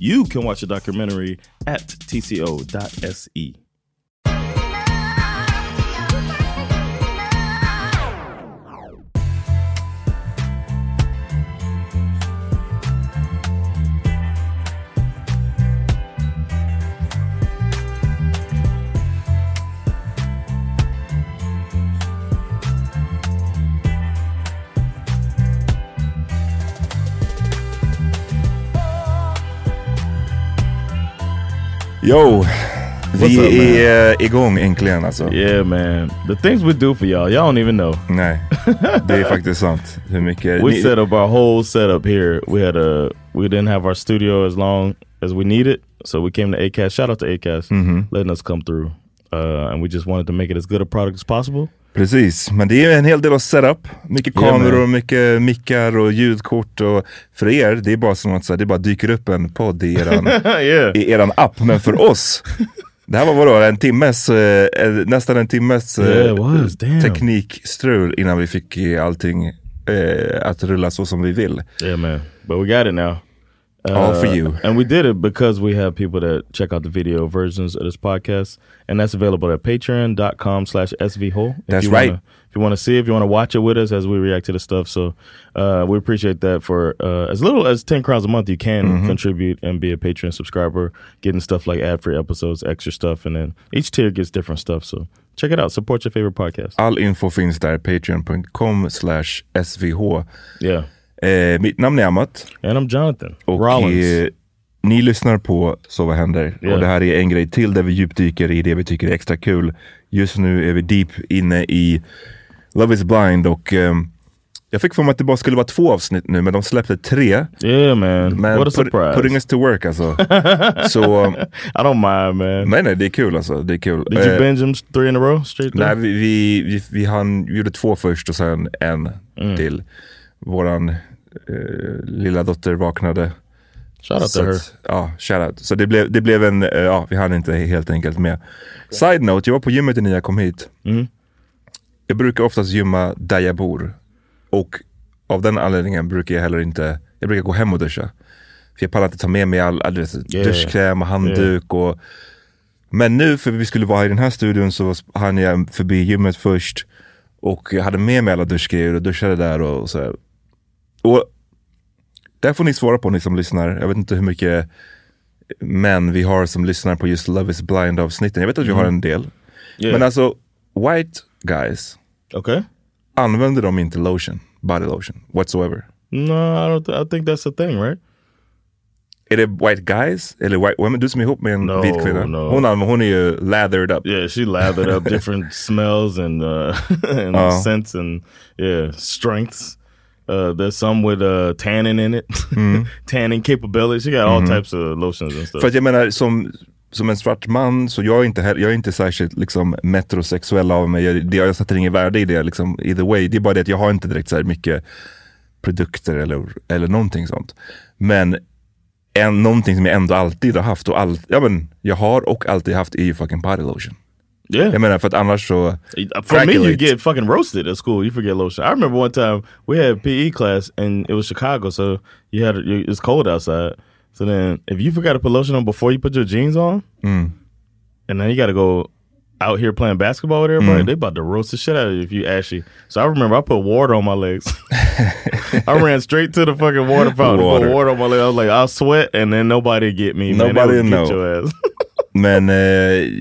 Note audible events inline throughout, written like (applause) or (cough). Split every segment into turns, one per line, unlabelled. You can watch the documentary at tco.se.
Yo! Vi
up, man?
är eh, igång äntligen alltså.
Yeah, man. The things we do for y'all, y'all don't even know.
Nej, det är faktiskt sant. Hur mycket...
(laughs) We
ni-
set up our whole setup here. We had a we didn't have our studio as long as we needed, so we came to Acast. Shout out to Acast,
Mm-hmm.
letting us come through, uh, and we just wanted to make it as good a product as possible.
Precis, men det är en hel del av setup. Mycket
Yeah, man.
kameror, mycket mickar och ljudkort. Och för er, det är bara som att så här, det bara dyker upp en podd i
(laughs)
eran,
yeah,
i eran app. Men för oss, det här var vadå, en timmes, eh, eh, nästan en timmes eh,
Yeah, it was. Damn.
teknikstrul innan vi fick eh, allting eh, att rulla så som vi vill.
yeah, man. But we got it now. Uh,
All for you.
And we did it because we have people that check out the video versions of this podcast, and that's available at patreon.com slash svhole. If
That's
you
right.
Wanna, if you want to see, if you want to watch it with us as we react to the stuff. So uh, we appreciate that for uh, as little as 10 crowns a month, you can
Mm-hmm.
contribute and be a Patreon subscriber, getting stuff like ad-free episodes, extra stuff, and then each tier gets different stuff. So check it out. Support your favorite podcast.
All info finns där, patreon.com slash svh.
Yeah.
Eh, mitt namn är Amat.
And I'm Jonathan
Och
Rollins.
eh, ni lyssnar på Så vad händer?
Ja.
Och det här är en grej till där vi djupdyker i det vi tycker är extra kul. Just nu är vi deep inne i Love is blind och ehm, Jag fick för mig att det bara skulle vara två avsnitt nu, men de släppte tre.
Yeah, man.
Men
What
put-
a surprise.
putting us to work
(laughs)
alltså. Så,
I don't mind, man.
nej nej, det är kul alltså. Det är kul.
Did you
Eh,
binge them three in a row? Straight
Nej,
through?
vi, vi, vi, vi, hann, vi gjorde två först och sen en
Mm.
till. Våran eh, lilla dotter vaknade.
Shout out
Så
to her.
att- Ja, shoutout. Så det blev, det blev en, eh, ja vi hann inte helt enkelt med. Side note, jag var på gymmet innan jag kom hit.
Mm.
Jag brukar oftast gymma där jag bor. Och av den anledningen brukar jag heller inte, jag brukar gå hem och duscha. För jag pallar inte ta med mig all, all du vet,
Yeah.
duschkräm och handduk. Och, men nu, för vi skulle vara i den här studion, så hann jag förbi gymmet först. Och jag hade med mig alla duschgrejer och duschade där och, och så. här. Och där får ni svara på ni som lyssnar. Jag vet inte hur mycket män vi har som lyssnar på just Love is blind avsnitten. Jag vet att vi har en del.
Yeah.
Men alltså, white guys,
okay.
använder de inte lotion, body lotion, whatsoever?
No, I don't. Th I think that's the thing, right?
Är det white guys eller white women? Du som är ihop med en
No,
vit kvinna.
no.
Hon, anv- hon är ju lathered up.
Yeah, she lathered up (laughs) different smells and uh, (laughs) and
Oh.
scents and yeah strengths. Uh, there's some with uh, tannin in it,
Mm-hmm.
(laughs) tannin capability. She got all types of lotions and stuff.
För att jag menar, som, som en svart man, så jag är inte, heller- jag är inte särskilt liksom, metrosexuell av mig. Jag, det, jag sätter ingen värde i det, liksom, either way. Det är bara det att jag har inte direkt så här mycket produkter eller, eller någonting sånt. Men en, någonting som jag ändå alltid har haft och all, ja, men, jag har och alltid haft är ju fucking body lotion.
yeah,
Jag menar, för att annars så...
Uh, For me, you
Crackulates.
get fucking roasted at school. You forget lotion. I remember one time we had PE class and it was Chicago, so you had you, it's cold outside. So then, if you forgot to put lotion on before you put your jeans on, and then you got to go out here playing basketball with everybody,
Mm.
they about to roast the shit out of you if you actually. So I remember I put water on my legs. (laughs) I ran straight to the fucking water fountain,
Water.
put water on my legs. I was like, I'll sweat, and then nobody get me. man. They
Nobody
would get
know.
your ass.
(laughs) Men, eh,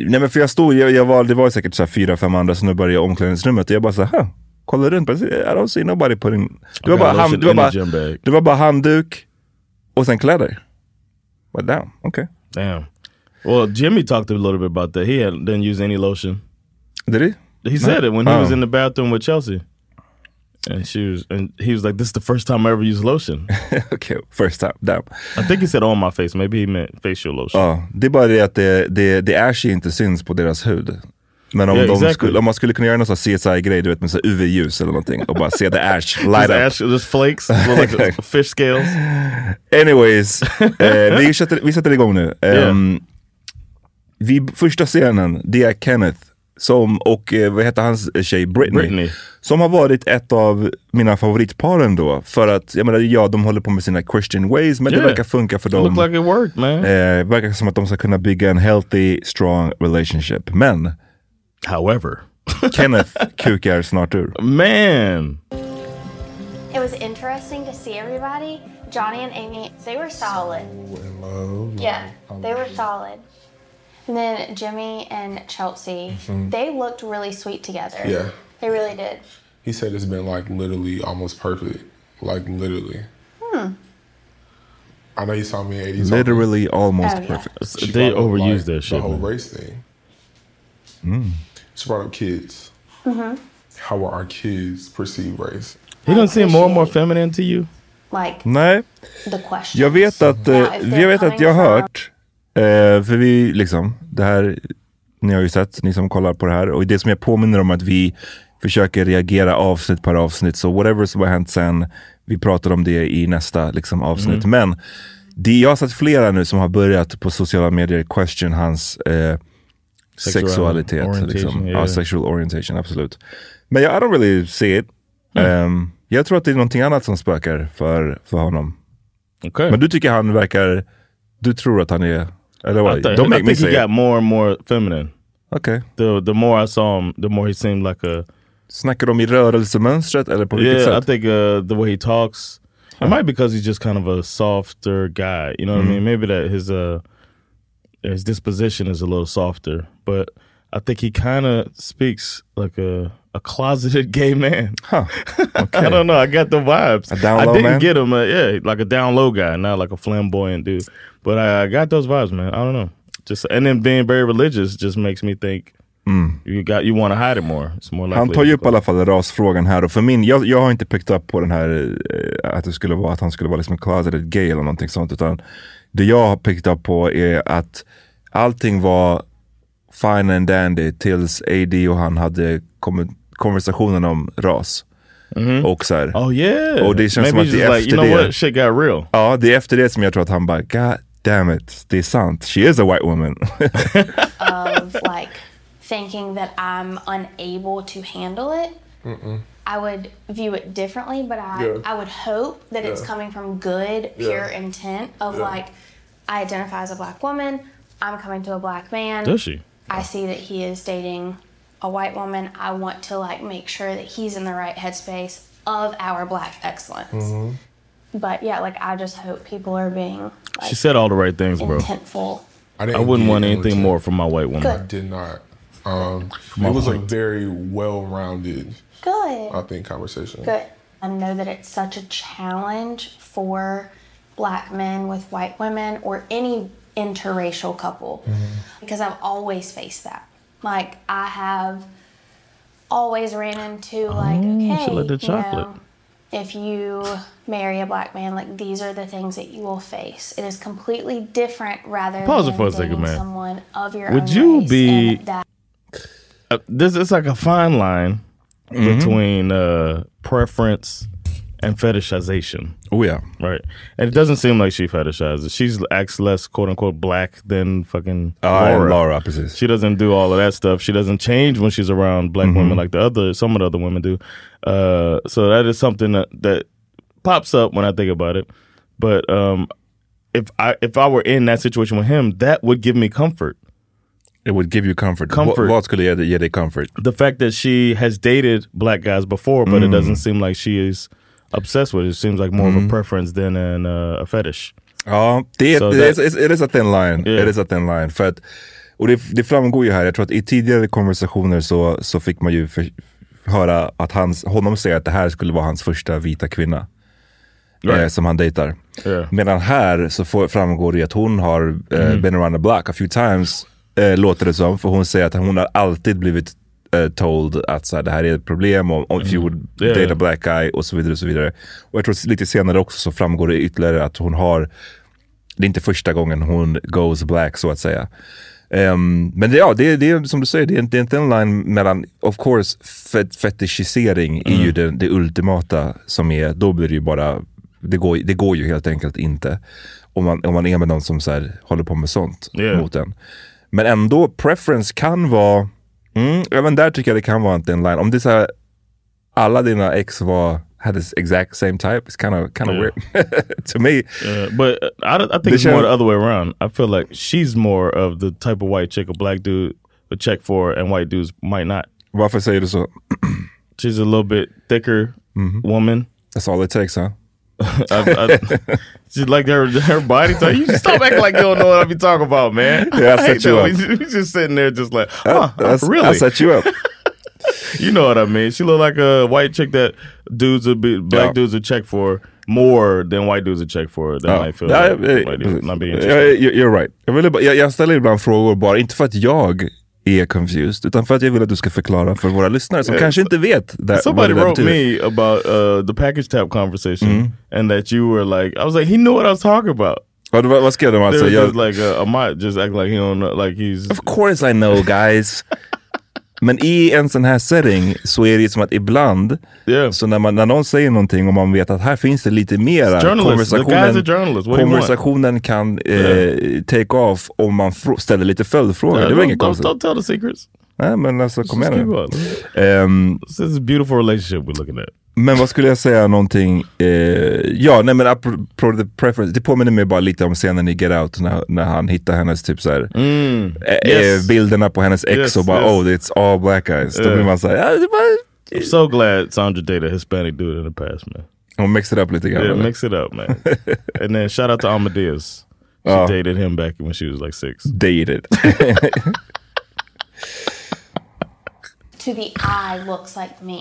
nej men för jag stod, jag, jag var, det var säkert så här fyra, fem andra snubbar i omklädningsrummet och jag bara så här, "Huh, kollar runt, bara, I don't see nobody på din... Det var,
got
bara,
lotion
hand, det, var
in the
bara,
gym bag.
det var bara handduk och sen kläder. But damn, okej.
Damn. Well, Jimmy talked a little bit about that. He had, didn't use any lotion.
Did he?
He said it when he was
Oh.
in the bathroom with Chelsea, and she was, and he was like, "This is the first time I ever used lotion."
(laughs) okay, first time, damn. Oh,
I think he said on my face. Maybe he meant facial lotion.
Ja, det är bara det att det, det, det ashy inte syns på deras hud. Men om,
Yeah,
de
exactly.
skulle, om man skulle kunna göra någon sån här CSI-grej, du vet med så här UV-ljus eller någonting och bara se the ash light
His
up.
ash, just flakes,
(laughs)
look like fish scales. (laughs)
Anyways, eh, vi, sätter, vi sätter igång nu. Ehm, vi, första scenen, det är Kenneth som, och eh, vad heter hans tjej? Britney.
Britney.
Som har varit ett av mina favoritparen då. För att, jag menar, ja de håller på med sina Christian ways, men
Yeah.
det verkar funka för dem.
Look like it worked, man.
eh, verkar som att de ska kunna bygga en healthy, strong relationship. Men
However, (laughs)
Kenneth kukar snart ur.
man,
It was interesting to see everybody. Johnny and Amy, they were solid. Yeah, they were solid. And then Jimmy and Chelsea, they looked really sweet together.
Yeah.
They really did.
He said it's been like literally almost perfect. Like literally. Hmm. I know you saw me in 80s.
Literally almost
Oh, yeah.
perfect.
they overused
The
that shit.
whole
man. Hmm.
race thing. She brought up kids.
Mm-hmm.
How will our kids perceive race?
He doesn't seem more and more feminine to you.
Like
Nej,
the question.
Jag vet att, eh,
Ja, if
jag,
they're
vet att
coming
jag har
from-
hört, eh, för vi liksom, det här, ni har ju sett, ni som kollar på det här, och det som jag påminner om att vi försöker reagera avsnitt per avsnitt, så whatever som har hänt sen, vi pratar om det i nästa liksom, avsnitt. Men det, jag har sett flera nu som har börjat på sociala medier question hans eh,
Sexual
sexualitet.
orientation,
Liksom.
yeah.
Ja, sexual orientation, absolut. Men jag, I don't really see it.
Mm.
Ehm, jag tror att det är någonting annat som spökar för, för honom.
Okay.
Men du tycker han verkar... Du tror att han är... Eller
I,
vad?
th-
Don't
I
make me
think he
say
got
it.
more and more feminine.
Okej.
The the more I saw him, the more he seemed like a
Snackar de i rörelsemönstret eller på vilket
Yeah, I
sätt?
think uh, the way he talks, it might be because he's just kind of a softer guy. You know
Mm-hmm.
what I mean? Maybe that his uh his disposition is a little softer, but I think he kind of speaks like a a closeted (laughs) gay man.
Huh.
I don't know. I got the vibes.
A down
I
low
didn't
man?
get him. Uh, yeah, like a down low guy, not like a flamboyant dude. But I, I got those vibes, man. I don't know. Just and then being very religious just makes me think
Mm.
You got you want to hide it more. It's more likely.
Han tar ju upp i alla fall rasfrågan här och för min, jag, jag har inte picked up på den här eh, att det skulle vara att han skulle vara liksom en closeted gay eller någonting sånt utan det jag har picked up på är att allting var fine and dandy tills AD och han hade kom- konversationen om ras. Och så här,
Oh yeah.
Och det känns som
Maybe
att det
he's
är
like, you
efter
know
det-
what? Shit got real.
ja det är efter det som jag tror att han bara God damn it, det är sant. She is a white woman. (laughs)
of (laughs) like thinking that I'm unable to handle it.
Mm-hmm.
I would view it differently, but I,
Yeah.
I would hope that it's
Yeah.
coming from good,
Yeah.
pure intent of
Yeah.
like, I identify as a black woman, I'm coming to a black man.
Does she?
I see that he is dating a white woman. I want to like make sure that he's in the right headspace of our black excellence.
Mm.
Mm-hmm.
But yeah, like I just hope people are being like,
She said all the right things, bro.
intentful.
didn't
I wouldn't
get
want
no
anything
attention.
more from my white
I
woman.
did not. Um, it was a very well-rounded,
Good.
I think, conversation.
good. I know that it's such a challenge for black men with white women or any interracial couple
Mm-hmm.
because I've always faced that. Like I have always ran into like okay,
should let Oh, the
you
chocolate.
know, if you marry a black man, like these are the things that you will face. It is completely different rather
Pause it
than
for a second,
dating
man.
someone of your
Would
own
you
race
be-
and that
Uh, this it's like a fine line between uh, preference and fetishization.
oh ja.
Right. And it doesn't seem like she fetishizes. She's acts less quote unquote black than fucking
Ja,
Laura.
Laura, precis.
She doesn't do all of that stuff. She doesn't change when she's around black women like the other some of the other women do. Uh, so that is something that, that pops up when I think about it. But um, if I if I were in that situation with him, that would give me comfort.
It would give you comfort.
Comfort.
Vad- Vad skulle ge dig, ge dig comfort?
The fact that she has dated black guys before,
Mm.
but it doesn't seem like she is obsessed with it. It seems like more
Mm-hmm.
of a preference than an, uh, a fetish.
Ja, det är,
So
det,
that-
är, it is a thin line.
Yeah.
It is a thin line. För att, och det, det framgår ju här, jag tror att i tidigare konversationer så, så fick man ju för, höra att hans, honom säga att det här skulle vara hans första vita kvinna. Eh, som han dejtar.
Yeah. Mm.
Medan här så får, framgår det ju att hon har eh, been around the block a few times, eh, låter det som. För hon säger att hon har alltid blivit eh, told att så här, det här är ett problem, om om if you would
Mm. Yeah.
date a black guy och så vidare. Och så vidare. Och jag tror lite senare också så framgår det ytterligare att hon har, det är inte första gången hon goes black så att säga. Ehm, men det, ja, det, det är som du säger, det är, en- det är inte en line mellan, of course, fet, fetishisering är
Mm.
ju det, det ultimata som är, då blir det ju bara, det går, det går ju helt enkelt inte. Om man, om man är med någon som så här, håller på med sånt
Yeah.
mot en. Men ändå, preference kan vara, mm, även där tycker jag det kan vara inte en line. Om det är så här, alla dina ex var, had this exact same type, it's kind of kind of
Yeah.
weird (laughs) to me.
Uh, but uh, I, don't- I think
They
it's more
should-
the other way around. I feel like she's more of the type of white chick a black dude would check for, and white dudes might not.
Varför säger du så?
She's a little bit thicker woman.
Mm-hmm. That's all it takes, huh?
(laughs) I, I, she's like her her body type. You just stop acting like you don't know what I be talking about, man.
(laughs)
(laughs)
Yeah, I
hate
set you
that.
up.
We just- We just sitting there, just like, huh,
That's- I
really?
set you up.
(laughs)
(laughs)
You know what I mean? She look like a white chick that dudes would be, black
Yeah.
dudes would check for more than white dudes would check for. That might feel
Ja,
like
eh,
white dudes not being
eh,
interested.
you're- You're right. Jag, ville bara, jag, jag ställer ibland frågor bara, inte för att jag är confused, utan för att jag vill att du ska förklara för våra lyssnare som kanske inte vet där,
Eh, Somebody
vad det där
wrote
betyder.
me about uh, the package tap conversation,
Mm-hmm.
and that you were like, I was like, he knew what I was talking about.
Vad, vad vad skrev de
There
alltså?
was
Jag,
just like uh, a, a might just act like he don't know, like he's
Of course I know guys.
(laughs)
Men i en sån här setting så är det ju som att ibland,
yeah.
så när, man, när någon säger någonting och man vet att här finns det lite mera,
Journalists, the guy's a
konversationen,
journalist. What do you want?
konversationen kan eh,
Yeah.
take off om man frå- ställer lite följdfrågor.
Yeah,
det var
Uh, don't,
inget
don't,
konstigt.
don't tell the secrets.
Nej, men alltså kom
Just keep
igen nu.
up. This
Ehm,
is a beautiful relationship we're looking at.
men vad skulle jag säga någonting? Eh, ja, nej men apropå the preference. Det påminner mig bara lite om scenen i Get Out när, när han hittar hennes typ så här, eh,
Mm. Yes.
eh, bilderna på hennes ex
Yes,
och bara
yes.
oh it's all black guys. Då
Yeah.
blir man såhär, ja, det
I'm
bara...
so glad Sandra dated a Hispanic dude in the past, man.
Hon mixade upp lite grann.
Yeah,
eller?
mix it
(laughs)
up, man. and then shout out to Amadeus. She dated him back when she was like six.
Oh.
(laughs)
Dated.
to the eye looks like me.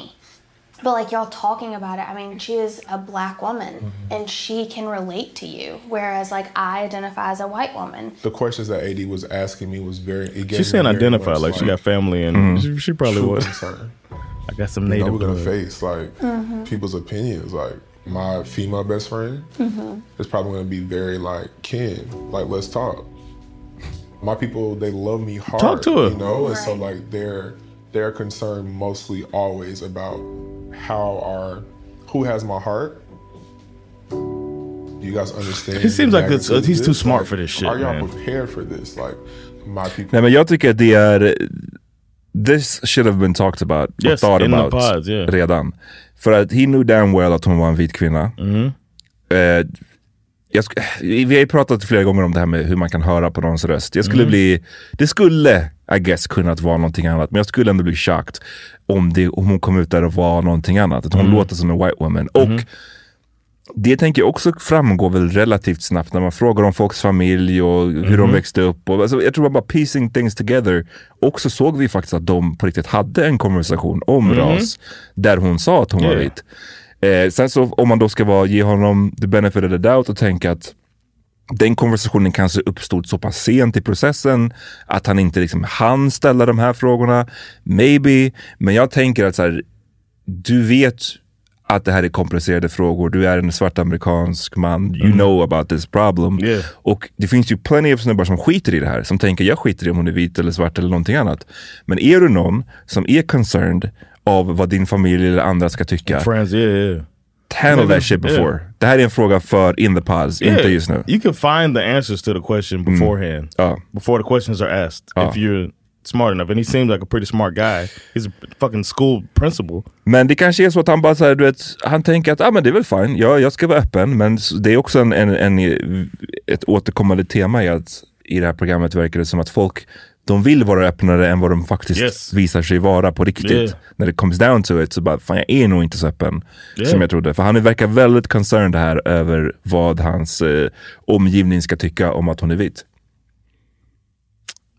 But like y'all talking about it, I mean, she is a black woman and she can relate to you, whereas like I identify as a white woman.
The questions that AD was asking me was very. It gave
She's
me
saying
very
identify,
much,
like, she got family and
Mm-hmm.
she, she probably
true
was.
concern.
I got some
You know,
native
we're gonna
blood.
face like people's opinions. Like my female best friend
Mm-hmm.
is probably gonna be very like Ken. Like let's talk. My people, they love me hard.
Talk to her.
You know, and so
Right.
like they're they're concerned mostly always about how our who has my heart. You guys understand?
He seems
the
like it's- uh,
magnitude of
he's too
this?
smart
Like,
for this shit,
Are y'all
man.
prepared for this? Like my people.
Nej men jag tycker att det är... This should have been talked about. och
Yes,
thought
in the
about
pods, yeah.
Redan. För att he knew damn well att hon var en vit kvinna.
Mm-hmm.
Eh, jag, sk- eh, vi har ju pratat flera gånger om det här med hur man kan höra på någons röst. Jag skulle
Mm-hmm.
bli... Det skulle, I guess, kunnat vara någonting annat. Men jag skulle ändå bli chockad om, det, om hon kom ut där och var någonting annat. Att
Mm-hmm.
hon låter som en white woman. Och det tänker jag också framgår väl relativt snabbt när man frågar om folks familj och hur de växte upp. Och, alltså, jag tror bara piecing things together. Också såg vi faktiskt att de på riktigt hade en konversation om ras där hon sa att hon var
Yeah.
vit. Eh, sen så om man då ska vara, ge honom the benefit of the doubt och tänka att den konversationen kanske uppstod så pass sent i processen att han inte liksom hann ställa de här frågorna. Maybe, men jag tänker att så här, du vet att det här är komplicerade frågor. Du är en svart amerikansk man. You know about this problem.
Mm. Yeah.
Och det finns ju plenty av snubbar som skiter i det här. Som tänker, jag skiter i om hon är vit eller svart eller någonting annat. Men är du någon som är concerned av vad din familj eller andra ska tycka.
Friends, yeah, yeah.
Handle that shit
Yeah.
before. Det här är en fråga för in the pods, inte just nu.
You can find the answers to the question beforehand,
Ja.
before the questions are asked, if you're smart enough. And he seems like a pretty smart guy. He's a fucking school principal.
Men det kanske är så att han bara så här, du vet, han tänker att ah, men det är väl fine, ja, jag ska vara öppen. Men s- det är också en, en, en, ett återkommande tema i, att, i det här programmet verkar det som att folk de vill vara öppnare än vad de faktiskt
Yes.
visar sig vara på riktigt.
Yeah.
När det comes down to it så bara, fan jag är nog inte så öppen
Yeah.
som jag trodde. För han verkar väldigt concerned här över vad hans eh, omgivning ska tycka om att hon är vit.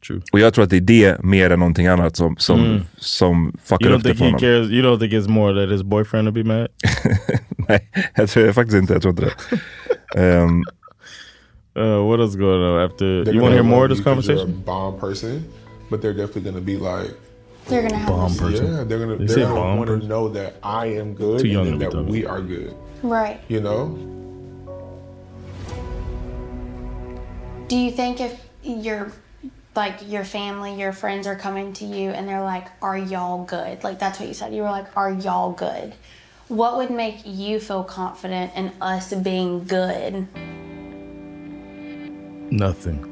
True. Mm.
Och jag tror att det är det mer än någonting annat som, som, som
You
fuckar
don't
upp det
think
för
he
honom.
cares? You don't think it's more that his boyfriend would be mad?
Nej, jag tror faktiskt inte. Jag tror inte det. Ehm,
Uh, what else going on after?
They're
you want to
gonna
hear more of
love
this
you 'cause you're a
conversation?
bomb person, but they're definitely gonna be like,
They're gonna have
Bomb person.
yeah, they're gonna
You
they're
said
gonna
bomb
want to
person?
know that I am good
Too young
and
to
that
be dumb.
we are good.
Right.
You know,
Do you think if your like your family, your friends are coming to you and they're like, "Are y'all good?" Like that's what you said. You were like, "Are y'all good?" What would make you feel confident in us being good?
(laughs)
Nothing.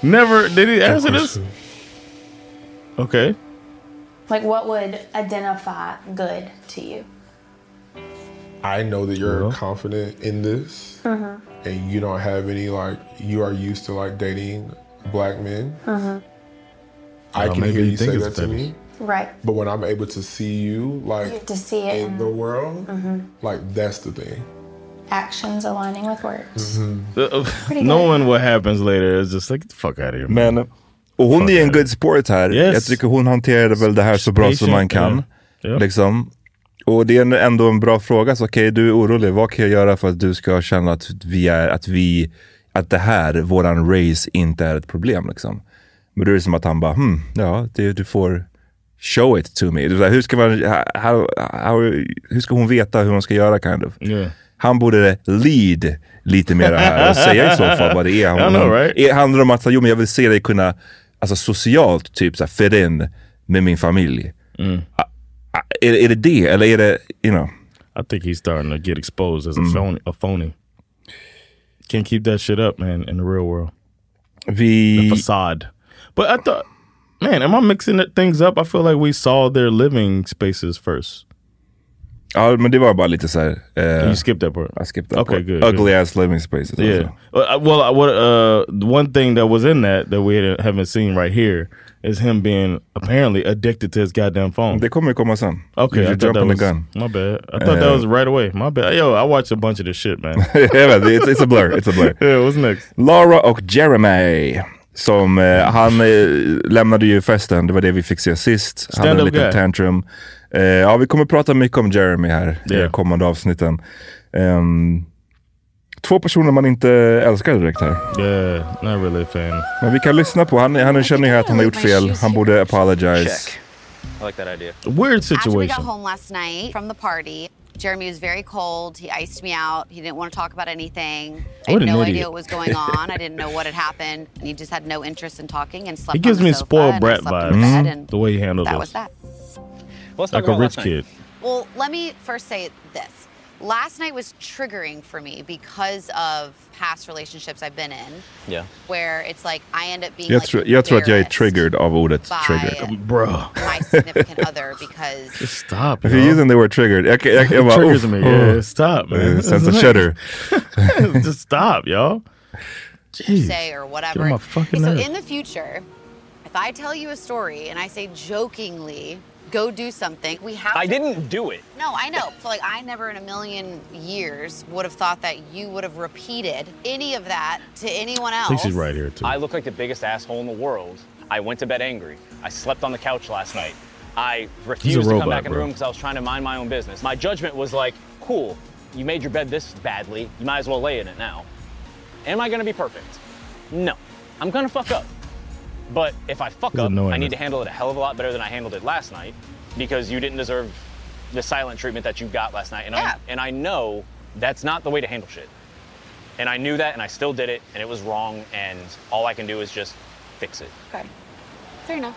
Never did he answer this? Okay.
Like what would identify good to you?
I know that you're confident in this,
Mm-hmm.
and you don't have any like you are used to like dating black men. I
Well,
can
maybe
hear
you
you
think
say
it's
that to
fetish.
me,
Right.
but when I'm able to see you like
To see it
in the
in
world, like that's the thing.
actions aligning with words.
Mm-hmm.
Uh,
good.
Knowing what happens later is just like get the fuck out of here. Man.
men, och hon är en good sport här.
Yes.
Jag tycker hon hanterade väl det här så bra som man kan.
Patient, yeah. Yeah.
Liksom. Och det är en- ändå en bra fråga. Så okej, du är orolig. Vad kan jag göra för att du ska känna att vi är, att vi, att det här, våran race, inte är ett problem liksom. Men då är det som att han bara, hmm, ja, det, du får show it to me. Det är så här, Hur ska, man, how, how, hur ska hon veta hur hon ska göra kind of?
Yeah.
Han borde lead lite mer här
(laughs)
och säga i så fall vad det är.
I
Han,
know, right?
är handlar det om att så, jo, men jag vill se dig kunna alltså, socialt typ så här, fit in med min familj.
Mm.
Ah, ah, Är, är det det eller är det, you know? Mm.
I think he's starting to get exposed as a phony. A phony. Can't keep that shit up, man. In the real world,
Vi...
facade. But I thought, man, am I mixing it- things up? I feel like we saw their living spaces first.
Ja, men det var bara lite så här. eh,
You skipped that part.
I skipped that
Okay,
part.
good.
Ugly
good.
ass living spaces.
Yeah.
alltså.
Uh, I- Well, I, what uh, the one thing that was in that that we hadn't- haven't seen right here is him being apparently addicted to his goddamn phone.
Det kommer ju komma sen.
Okay,
You
I
should
thought
jump
that
on the
was
gun.
my bad. I thought that was right away. My bad. Yo, I watched
(laughs)
a bunch of this shit, man. (laughs)
Yeah, but it's, it's a blur, it's a blur.
yeah, what's next?
Laura och Jeremy. Som, eh, han eh, lämnade ju festen, det var det vi fick se sist. Han hade en
Stand-up
liten
guy.
tantrum. Eh, ja, vi kommer prata mycket om Jeremy här i
Yeah.
de kommande avsnitten. Ehm, två personer man inte älskar direkt här.
Yeah, not really a fan.
Men vi kan lyssna på, han, han känner ju att han har gjort fel. Han borde apologize.
I like that idea.
Weird
After we got
situation.
home last night from the party, Jeremy was very cold. He iced me out. He didn't want to talk about anything. I
What
had
an
no
idiot.
idea what
(laughs)
was going on. I didn't know what had happened. And he just had no interest in talking and slept
He gives
on the
me
sofa,
spoiled
and I
brat
slept in bed,
vibes. Mm-hmm.
and
The way he handled
that was
this,
that.
Well, let's talk
like a
about
rich
last night.
kid.
Well, let me first say this. Last night was triggering for me because of past relationships I've been in
Yeah.
where it's like I end up being
Jag
like,
tror, jag tror att jag är
embarrassed
triggered av ordet
by
triggered.
Bro,
my
(laughs)
significant other because
stop.
If you're
yo.
using the word triggered, jag, jag,
(laughs)
jag bara...
Triggers
uff,
me.
uff.
Yeah, stop, man.
Eh,
(laughs)
Sense of shudder.
Just stop, y'all. Jeez.
say or whatever.
Get on my fucking
so
nerves.
in the future, if I tell you a story and I say jokingly, go do something, we have
I
to-
didn't do it.
No, I know. So like I never in a million years would have thought that you would have repeated any of that to anyone else.
I think she's right here too.
I look like the biggest asshole in the world. I went to bed angry. I slept on the couch last night. I refused to
robot,
come back in the
bro.
room because I was trying to mind my own business. My judgment was like, cool, you made your bed this badly. You might as well lay in it now. Am I going to be perfect? No. I'm going to fuck up. But if I fuck
It's
up,
annoying.
I need to handle it a hell of a lot better than I handled it last night because you didn't deserve the silent treatment that you got last night. And,
Yeah.
I, and I know that's not the way to handle shit. And I knew that and I still did it and it was wrong and all I can do is just fix it.
Okay. Fair enough.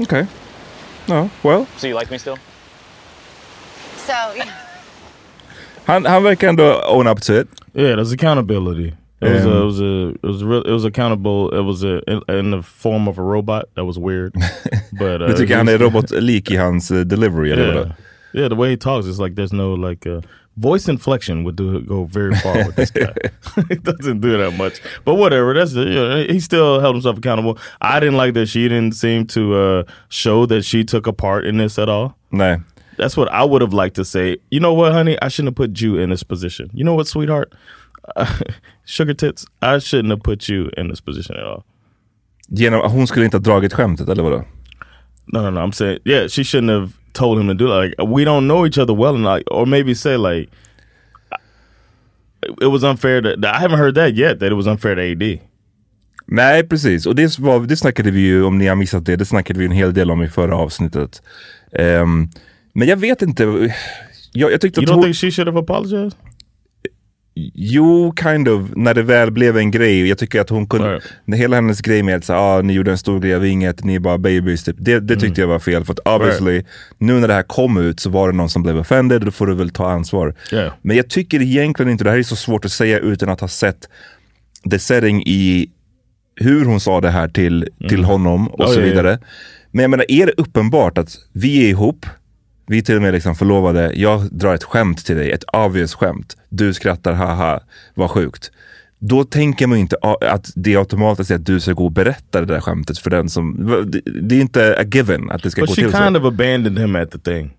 Okay. No, well.
So you like me still?
So yeah.
Han, han verkar ändå uh, own up to it.
Yeah, there's accountability. It was,
Um,
a, it was a it was real, it was accountable. It was a, in, in the form of a robot. That
(laughs)
was weird, but uh,
Du tycker
at
han är
least- (laughs)
robotlik i hans eh, delivery eller vadå?
yeah, yeah. The way he talks is like there's no like uh, voice inflection would do go very far with
(laughs)
this guy. (laughs) he doesn't do that much, but whatever. That's the, yeah, he still held himself accountable. I didn't like that she didn't seem to uh, show that she took a part in this at all.
Nej.
That's what I would have liked to say. You know what, honey? I shouldn't have put you in this position. You know what, sweetheart? (laughs) Sugar tits, I shouldn't have put you in this position at all.
Genom, hon skulle inte ha dragit skämtet eller vadå?
No, no, no. I'm saying, yeah, she shouldn't have told him to do that. Like, we don't know each other well enough. Or maybe say, like, it was unfair to, I haven't heard that yet, that it was unfair to AD.
Nej, precis. Och det, var, det snackade vi ju, om ni har missat det, det snackade vi en hel del om i förra avsnittet. Ehm, men jag vet inte. Jag, jag tyckte
You
att
don't
hon,
think she should have apologized?
Jo, kind of. När det väl blev en grej. Jag tycker att hon kunde...
Right.
När hela hennes grej med att säga, ah, ni gjorde en stor grej av inget, ni är bara babies. Typ. Det, det tyckte jag var fel. För att obviously, nu när det här kom ut så var det någon som blev offended. Då får du väl ta ansvar.
Yeah.
Men jag tycker egentligen inte, det här är så svårt att säga utan att ha sett the setting i hur hon sa det här till, till honom och
Mm. Ja,
så
ja, ja.
vidare. Men jag menar, är det uppenbart att vi är ihop, vi är till och med liksom förlovade, jag drar ett skämt till dig, ett obvious skämt. Du skrattar, haha, vad sjukt. Då tänker man ju inte a- att det automatiskt är att du ska gå och berätta det där skämtet för den som... Det, det är inte a given att det ska
But
gå
she
till så.
kind of abandoned him at the thing.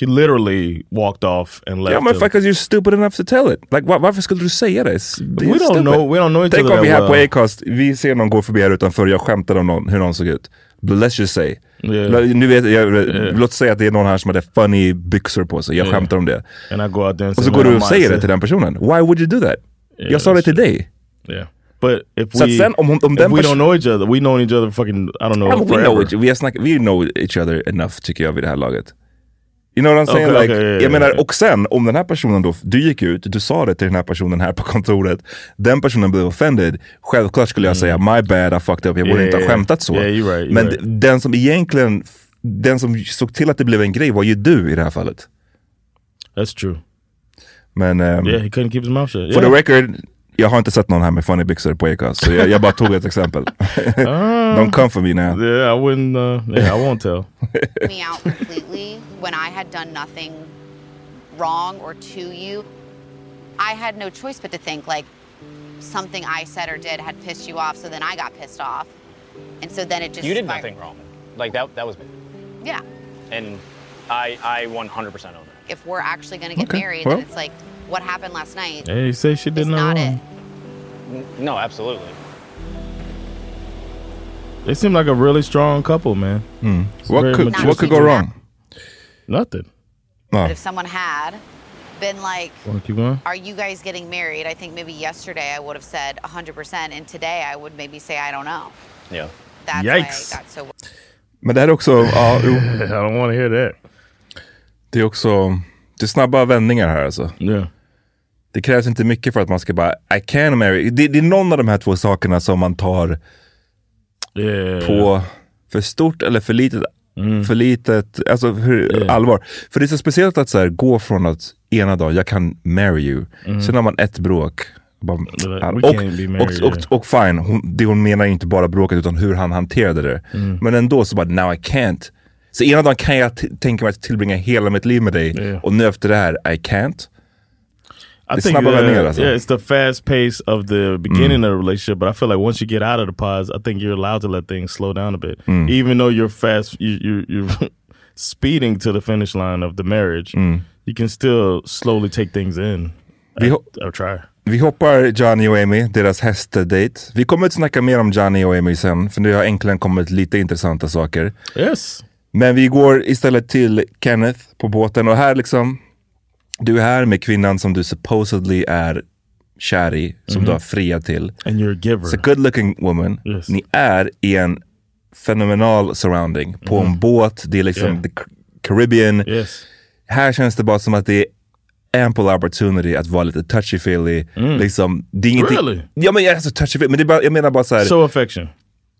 She literally walked off and left
Ja men
him.
fuck, 'cause you're stupid enough to tell it. Like, wa- varför skulle du säga det? S- det är
We don't
stupid.
know- we don't know each
Tänk
other
om vi
that
här på
well.
Acast, vi ser någon gå förbi här utanför, jag skämtar om någon, hur någon såg ut. But let's just say.
Yeah.
L- Nu vet, jag, Låt säga att det är någon här som hade funny byxor på sig, jag
Yeah.
skämtar om det.
And I go out there and
Och
say,
så går du
"Man,
och
I'm
säger det
honest."
till den personen. Why would you do that? jag sa det till dig.
Yeah. But if
Så att
we
sen om hon- om
if
den
we
pers-
don't know each other, we know each other fucking I don't know.
Ja, men we,
forever.
know each, vi, har snack, we know each other enough tycker jag vid det här laget. You know what I'm saying?
Okej,
like,
okej, ja, ja,
jag menar,
ja.
och sen om den här personen då, du gick ut, du sa det till den här personen här på kontoret. Den personen blev offended. Självklart skulle
Mm.
jag säga my bad, I fucked up, jag borde
Ja,
inte
ja,
ha
ja.
skämtat så.
Ja, you're right, you're
Men
right.
d- den som egentligen, den som såg till att det blev en grej var ju du i det här fallet.
That's true.
Men ehm,
Yeah, he couldn't keep his mouth shut.
for
Yeah.
the record, jag har inte sett någon här med funny byxor på Acast, så jag, jag bara tog ett
(laughs)
exempel.
Ah.
(laughs) De come for me now.
yeah, I wouldn't. Uh, yeah, I
(laughs)
won't tell.
me out completely when I had done nothing wrong or to you. I had no choice but to think like something I said or did had pissed you off, so then I got pissed off. And so then it just
You did
spir-
nothing wrong. Like that that was me.
Yeah.
And I I 100% own it.
If we're actually gonna get
Okay,
married,
well.
then it's like what happened last night
Hey, you say uh, she did
is
nothing
not
wrong.
it.
N- No, absolutely.
They seem like a really strong couple, man. It's
Hmm. What
very
could-
mature.
what could go wrong? Oh.
Nothing.
But if someone had been like,
Want to Oh. keep going?
Are you guys getting married? I think maybe yesterday I would have said 100%, and today I would maybe say, I don't know.
Yeah.
That's
Yikes.
why I got so.
Men det här är också... Ja,
(laughs)
jo. I
don't want to hear that.
Det är också... Det är snabba vändningar här alltså. Det krävs inte mycket för att man ska bara, I can marry. Det, det är någon av de här två sakerna som man tar
Eh,
på för stort eller för litet.
Mm.
För litet, alltså hur, allvar. För det är så speciellt att så här, gå från att ena dagen, jag kan marry you.
Mm.
Sen har man ett bråk. Bara, ah,
we
och,
can't be
och,
married,
och, och, fine, hon, det hon menar är inte bara bråket utan hur han hanterade det.
Mm.
Men ändå så bara, now I can't. Så ena dagen kan jag t- tänka mig att tillbringa hela mitt liv med dig och nu efter det här, I can't.
I
det är
think
snabba vändningar
uh,
alltså.
yeah, it's the fast pace of the beginning of the relationship, but I feel like once you get out of the pause, I think you're allowed to let things slow down a bit,
Mm.
even though you're fast, you, you, (laughs) you're speeding to the finish line of the marriage. You can still slowly take things in.
Vi
I,
ho-
I'll try.
Vi hoppar Johnny och Amy, deras hästdate. Vi kommer att snacka mer om Johnny och Amy sen, för nu har äntligen kommit lite intressanta saker.
Yes.
Men vi går istället till Kenneth på båten och här liksom, du är här med kvinnan som du supposedly är kär i, som
Mhm.
du har friat till.
And you're a giver.
It's a good looking woman.
Yes.
Ni är i en fenomenal surrounding, på en
Mhm.
båt, det är liksom
Yeah.
the Ca- Caribbean.
Yes.
Här känns det bara som att det är ample opportunity att vara lite touchy-feely.
Mm.
Liksom, det är ingenting...
Really?
Ja men jag är så touchy-feely, men det är bara, jag menar bara så här...
So affection.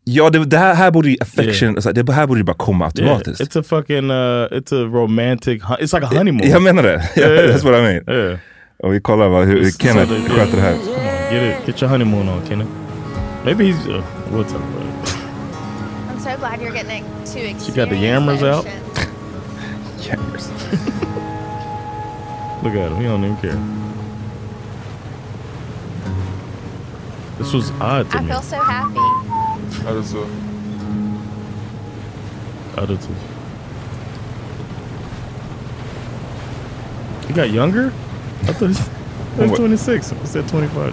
ja, det, det här, här borde ju affection,
Yeah.
så här, det här borde ju bara komma
Yeah,
automatiskt.
it's a fucking, uh, it's a romantic, hu- it's like a honeymoon.
Jag menar det.
(laughs)
(laughs)
Yeah, yeah.
That's what I mean. Och vi kollar vad, hur, hur
It's
Kenneth
so that-
sköter det här.
Come on, get it. Get your honeymoon on, Kenneth. Maybe he's. Uh, we'll talk about it. (laughs)
Mm-hmm.
I'm so glad you're getting to experience
She got the yammers
(laughs)
out.
ocean.
Yammers.
Look at him. He don't even care. This was odd to
I
me.
feel so happy.
How does it?
Other two. He got younger. I thought he was
What?
26. I said 25.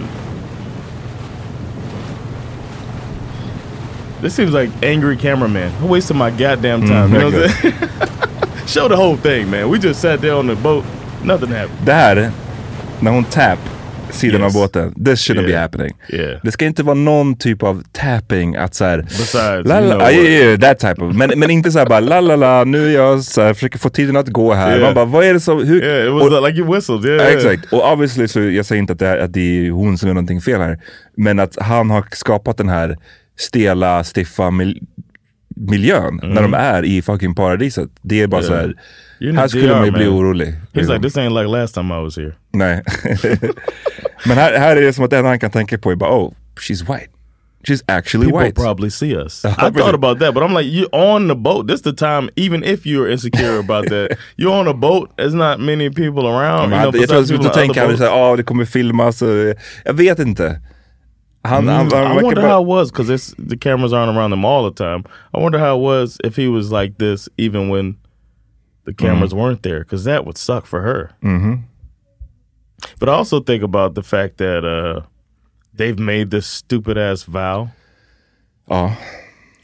This seems like angry cameraman. Who wasted my goddamn time? you know what I'm saying? (laughs) Show the whole thing, man. We just sat there on the boat. Nothing happened.
Där, när hon tap sidan
Yes.
av båten, this shouldn't be
Yeah.
happening.
Yeah.
Det ska inte vara någon typ av tapping att så här,
Besides,
la,
you
la,
know
ah,
what.
yeah, yeah, that type of, men, men inte så här bara la la la, nu är jag så här, försöker få tiden att gå här.
Yeah.
Man bara, vad är det som, hur?
Yeah, it was
och-
like you whistled. Yeah,
Ja,
yeah.
Exakt, och obviously så jag säger inte att det, är, att det är hon som gör någonting fel här. Men att han har skapat den här stela, stiffa mil- miljön när de är i fucking paradiset. Det är bara
Mm. Yeah.
så
You're
här,
in
här
the
skulle
DR,
man ju bli
man.
orolig.
He's like, this ain't like last time I was here.
Nej. (laughs) Men här, här är det som att det enda han kan tänka på är bara, oh, she's white. She's actually
People
white.
probably see us. I thought about that, but I'm like, you're on the boat. This the time, even if you're insecure about that, you're on a boat. There's not many people around.
Men
you
han,
know,
jag tror att
besides people
då
on other
tänker han
boats.
så här, ah, det kommer filmas. eh, Jag vet inte. Han,
Mm,
han, han,
I
verkar
wonder
bara...
how it was because the cameras aren't around them all the time. I wonder how it was if he was like this even when the cameras weren't there because that would suck for her.
Mhm.
But I also think about the fact that uh, they've made this stupid ass vow.
Oh.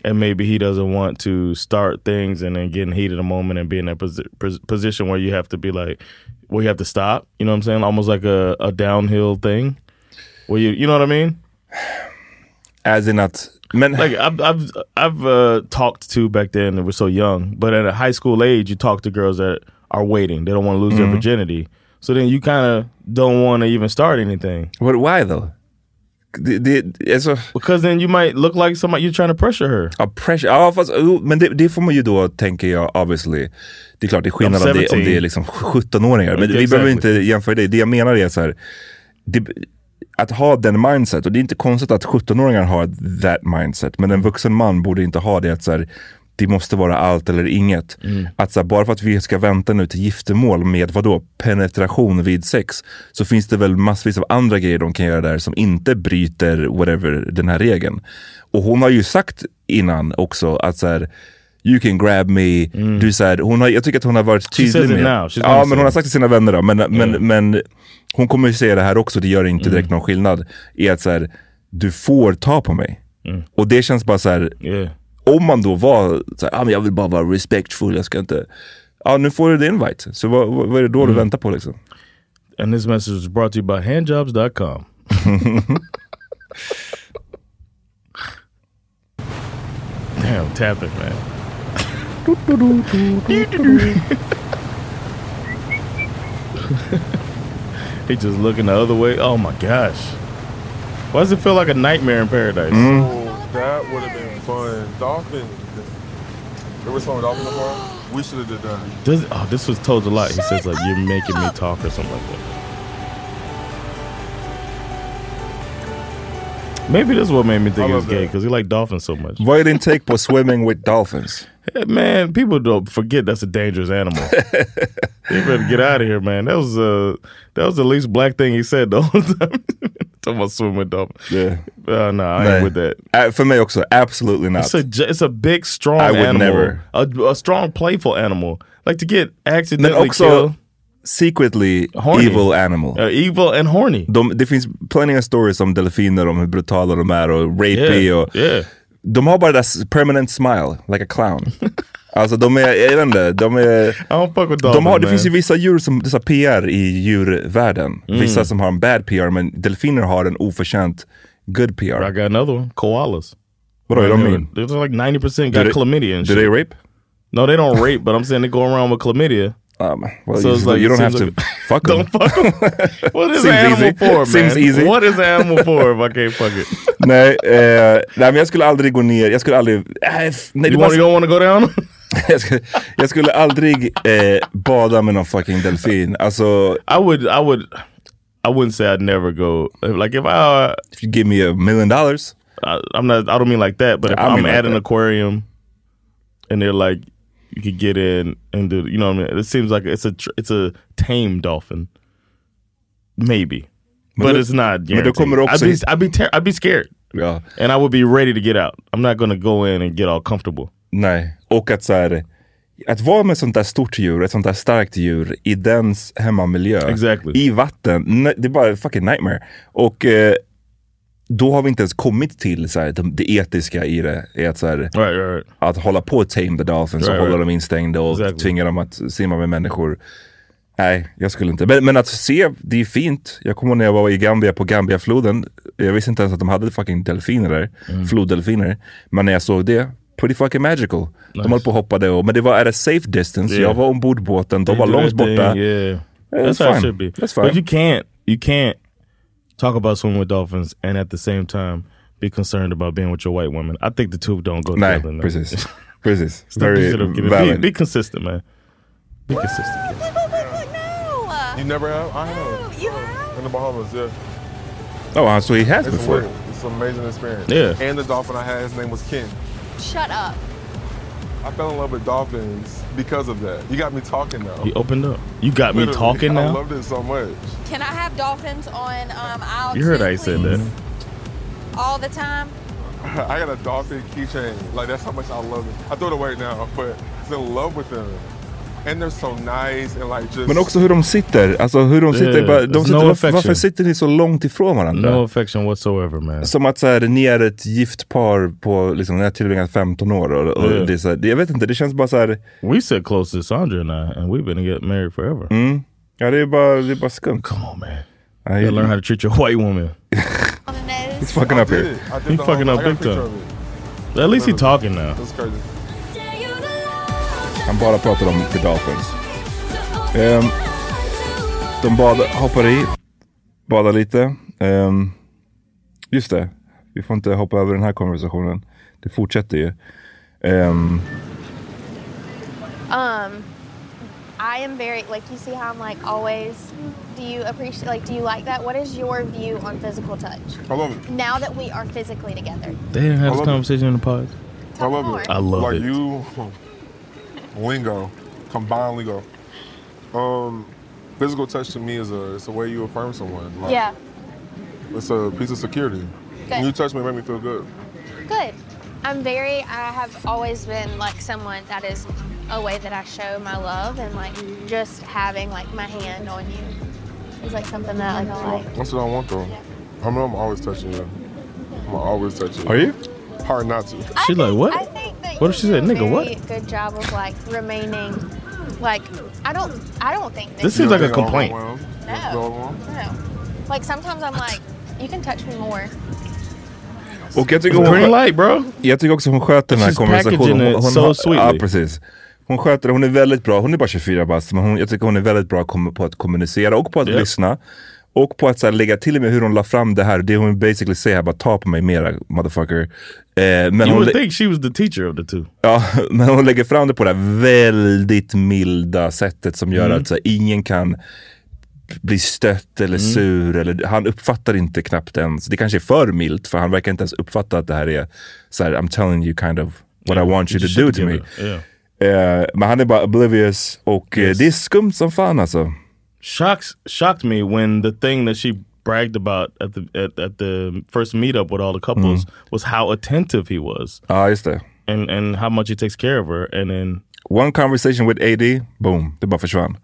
And maybe he doesn't want to start things and then getting heated a moment and be in that posi- pos- position where you have to be like, where you have to stop. You know what I'm saying? Almost like a, a downhill thing. Where you, you know what I mean?
As in att... Men...
Like I've I've, I've uh, talked to back then. They were so young, but at a high school age, you talk to girls that are waiting. They don't want to lose their
Mhm.
virginity. So then you kind of don't want to even start anything.
But why though?
because then you might look like somebody you're trying to pressure her.
Ja, pressure. Ja, fast, jo, men det, det får man ju då, eh, tänker jag, obviously. Det är klart, det är skillnad
I'm
om det, om
17.
det är liksom 17-åringar. Men
Okay,
vi behöver inte
exactly.
jämföra det. Det jag menar är så här, det, att ha den mindset, och det är inte konstigt att 17-åringar har that mindset, men en vuxen man borde inte ha det att så här, det måste vara allt eller inget.
Mm.
Att så här, bara för att vi ska vänta nu till giftermål med vadå, penetration vid sex, så finns det väl massvis av andra grejer de kan göra där som inte bryter whatever den här regeln. Och hon har ju sagt innan också att så här, You can grab me. Du, så här, hon har, jag tycker att hon har varit
Mm. She says
tydlig
it
med...
now. She's gonna
Ja, men
say
hon har
it.
sagt till sina vänner
Mm.
då. Men, men, men hon kommer ju säga det här också, det gör inte direkt någon skillnad. Är att så här, du får ta på mig. Och det känns bara så här. om man då var så här, ah, men jag vill bara vara respectful, jag ska inte... Ja, nu får du din invite. Så vad, vad vad är det då du väntar på liksom?
Mm. And this message was brought to you
(laughs)
by handjobs.com. Damn, tap it, man. He just looking the other way. Oh my gosh. Why does it feel like a nightmare in paradise?
Mm-hmm.
Oh,
Mm-hmm.
that would have been fun. Dolphin. There was some dolphin before. We should have did that.
Does oh this was told a lot. He says like you're making me talk or something like that. Maybe that's what made me think he was gay because he liked dolphins so much.
Vad är din take på swimming with dolphins?
Hey, man, people don't forget that's a
(laughs)
dangerous animal. you better get out of here, man. That was uh, that was the least black thing he said the whole (laughs) time. Talking about swimming with dolphins.
Yeah.
Uh, no, I
Nej.
ain't with that.
Äh, För mig också, absolutely not.
It's a j- it's a big, strong
I would
animal.
never.
A, a strong, playful animal. Like to get
Men
accidentally
också
killed.
secretly
Horny.
evil animal.
Uh, evil and horny.
De, det finns plenty of stories om delfiner, om hur brutala de är och rapey.
Yeah,
Och,
yeah.
De har bara det där s- permanent smile, like a clown. alltså de är, jag vet inte, de är...
I don't fuck with dolphins,
De har, det
man.
finns ju vissa djur som, det är så här PR i djurvärlden.
Mm.
Vissa som har en bad PR, men delfiner har en oförtjänt good
I
PR.
got another one. Koalas.
Vadå, är de mean?
There's like 90% got
Do they-
chlamydia and
Do
shit.
they rape?
No, they don't rape, but I'm saying they go around with chlamydia.
Um, well,
So
you,
it's like- (laughs)
you don't
it
have
seems
to fuck them.
Don't fuck 'em.
(laughs)
What is
Seems
an animal
easy.
for, man?
Seems easy.
What is an animal for if I can't fuck
(laughs)
it?
nej, eh, nej, men jag skulle aldrig gå ner, jag skulle aldrig... (laughs) Äh, f- nej,
You,
det
want,
var,
you don't want to go down?
jag, skulle, jag skulle aldrig eh, bada med någon fucking delfin. Alltså,
I would, I would, I wouldn't say I'd never go. Like if I,
if you give me a million dollars.
I I'm not, I don't mean like that, but if
I
I am
mean like
at an
that.
aquarium and they're like, you could get in and do, you know what I mean? It seems like it's a, tr- it's a tame dolphin. Maybe. But,
då-
it's not
men då
guaranteed.
kommer det
I'd
också
be,
hit-
I'd be, ter- I'd be scared.
Ja,
and I would be ready to get out. I'm not gonna go in and get all comfortable.
nej. Och att så här, att vara med ett sånt där stort djur, ett sånt där starkt djur i dens hemmamiljö,
Exactly.
i vatten, nej, det är bara en fucking nightmare. Och eh, då har vi inte ens kommit till så här, de, det etiska i det. Är att, så här,
Right, right, right.
att hålla på att tame the dolphins
Right,
och hålla
right.
dem instängda och
Exactly.
tvinga dem att simma med människor. Nej, jag skulle inte. Men, men att se, det är fint. Jag kommer ihåg när jag var i Gambia på Gambiafloden. Jag visste inte ens att de hade fucking delfiner där.
Mm.
Floddelfiner. Men när jag såg det, pretty fucking magical. De höll på och hoppade och, men det var at a safe distance.
Yeah.
Jag var ombord båten, de
You
var
do
långt
that thing,
borta.
Yeah,
it's
that's how
fine.
it should be.
That's
But
fine.
you can't, you can't talk about swimming with dolphins and at the same time be concerned about being with your white woman. I think the two don't go
Nej,
together. no. (laughs)
precis. precis.
Stop
Very
yourself, kid. be,
valid.
be consistent, man. Be consistent. kid.
You never have? I have. Oh, You have? In the Bahamas, yeah.
Oh, so he has
It's
before.
weird. It's an amazing experience.
Yeah.
And the dolphin I had, his name was Ken.
Shut up.
I fell in love with dolphins because of that. You got me talking now.
You opened up. You got me
Literally.
talking
I
now.
loved it so much. (laughs)
Can I have dolphins on um, aisle
You heard
two,
I said
please?
that.
All the time?
I got a dolphin keychain. Like that's how much I love it. I throw it away now, (laughs) but I was in love with them. And they're so nice and like just.
Men också hur de sitter. Alltså hur de sitter.
Yeah,
bara- de
there's
sitter
no
varför,
affection.
varför sitter ni så långt ifrån varandra?
No affection whatsoever, man.
Som att så här, ni är ett gift par på, liksom, ni har tillbringat 15 år. Och, och
Ja.
det är så här, det- jag vet inte, det känns bara så här,
We sit close to Sandra and I, and we've been to get married forever.
Hmm? ja det är bara, det är bara skumt.
Come on, man.
Nej,
You gotta learn how to treat your white
(laughs)
woman.
On the
It's
nose.
fucking up
I did
here.
it. I did
He
the
fucking
whole-
up
I got a
big
picture
time.
of it.
At least he talking now.
That's crazy.
Han bara pratar om The Dolphins. Ehm, de bad, hoppar i, badar lite. Ehm, just det, vi får inte hoppa över den här konversationen. Det fortsätter ju. Ehm,
Um, I am very like you see how I'm like always. Do you appreciate like do you like that? What is your view on physical touch
I love it.
now that we are physically together?
They didn't have
I
this
love it.
conversation in the pod.
I
Talk
love
more.
it.
I love
like
it.
you, lingo, combined lingo. Um, physical touch to me is a it's a way you affirm someone. Like,
Yeah,
It's a piece of security. When you touch me, it make me feel good.
good. I'm very. I have always been like someone that is a way that I show my love and like just having like my hand on you is like something that like I like.
That's what I want though. I mean, I'm always touching you. I'm always touch it.
Are you?
Hard not to.
She like what? What if she said nigga? What?
Very Good job of like remaining. Like I don't, I don't think
This seems like a complaint.
No, no. Like sometimes I'm like, you can touch me more.
Och jag tycker,
Green light, bro.
jag tycker också hon sköter den här
She's packaging
konversationen.
it
Hon, hon,
so
har- ja,
sweetly.
precis. Hon sköter det, hon är väldigt bra. Hon är bara 24 bast, men hon, jag tycker hon är väldigt bra kom- på att kommunicera och på att
Ja.
lyssna. Och på att så här, lägga till med hur hon la fram det här. Det hon basically säger här, bara ta på mig mera motherfucker. Eh, men
you
hon
would
lä-
think she was the teacher of the two.
Ja, (laughs) men hon lägger fram det på det här väldigt milda sättet som gör
Mm.
att så här, ingen kan bli stött eller
Mm.
sur. Eller, han uppfattar inte knappt ens, det kanske är för milt för han verkar inte ens uppfatta att det här är så här, I'm telling you kind of what I want you to do to me.
Yeah.
Eh, men han är bara oblivious och eh, det är skumt som fan alltså.
Shocks shocked me when the thing that she bragged about at the at, at the first meetup with all the couples
Mm-hmm.
was how attentive he was
Ja, just det.
and and how much he takes care of her and then
One conversation with AD, boom, det bara försvann.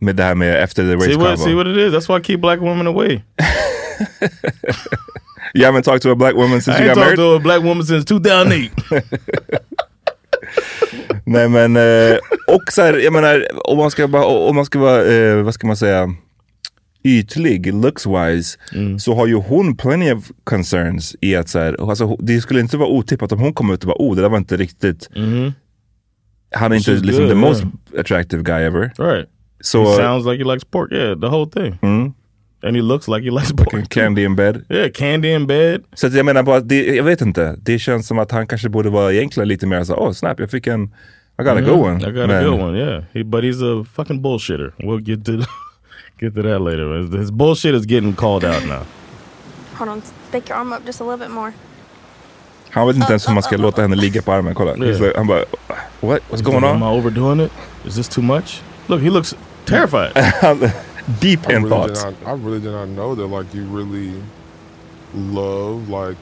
Med det här med efter the race
see what see
convo.
what it is. That's why I keep black
(laughs)
women away.
You haven't talked to a black woman since
I
you
ain't
got married?
talked to a black woman since 2008.
(laughs) Nej men, eh, och så här, jag menar, om man ska, bara, om man ska vara, eh, vad ska man säga, ytlig looks wise,
Mm.
så har ju hon plenty of concerns i att så här, alltså, ho- det skulle inte vara otippat om hon kom ut och bara, oh det där var inte riktigt, han är inte
Mm. She's
liksom
good,
the most
yeah.
attractive guy ever.
right.
So,
he
uh,
sounds like he likes pork. Yeah, the whole thing.
Mm.
And he looks like he likes pork.
Candy in bed.
Yeah, candy in bed.
Så att jag menar bara, det, jag vet inte, det känns som att han kanske borde vara egentligen lite mer så, oh snap, jag fick en, I got a
Mhm.
good one.
I got
Men-
a good one. Yeah, he, but he's a fucking bullshitter. We'll get to (laughs) get to that later. His, his bullshit is getting called out now.
Hold on, stick your arm up just a little bit more.
Han vet inte ens hur man ska låta henne ligga på armen. Kolla.
Yeah.
Så Han bara, what? (laughs) What's going
Am
on?
I overdoing it? Is this too much? Look, he looks terrified.
(laughs) Deep
I really, did not, I really did not know that like you really love like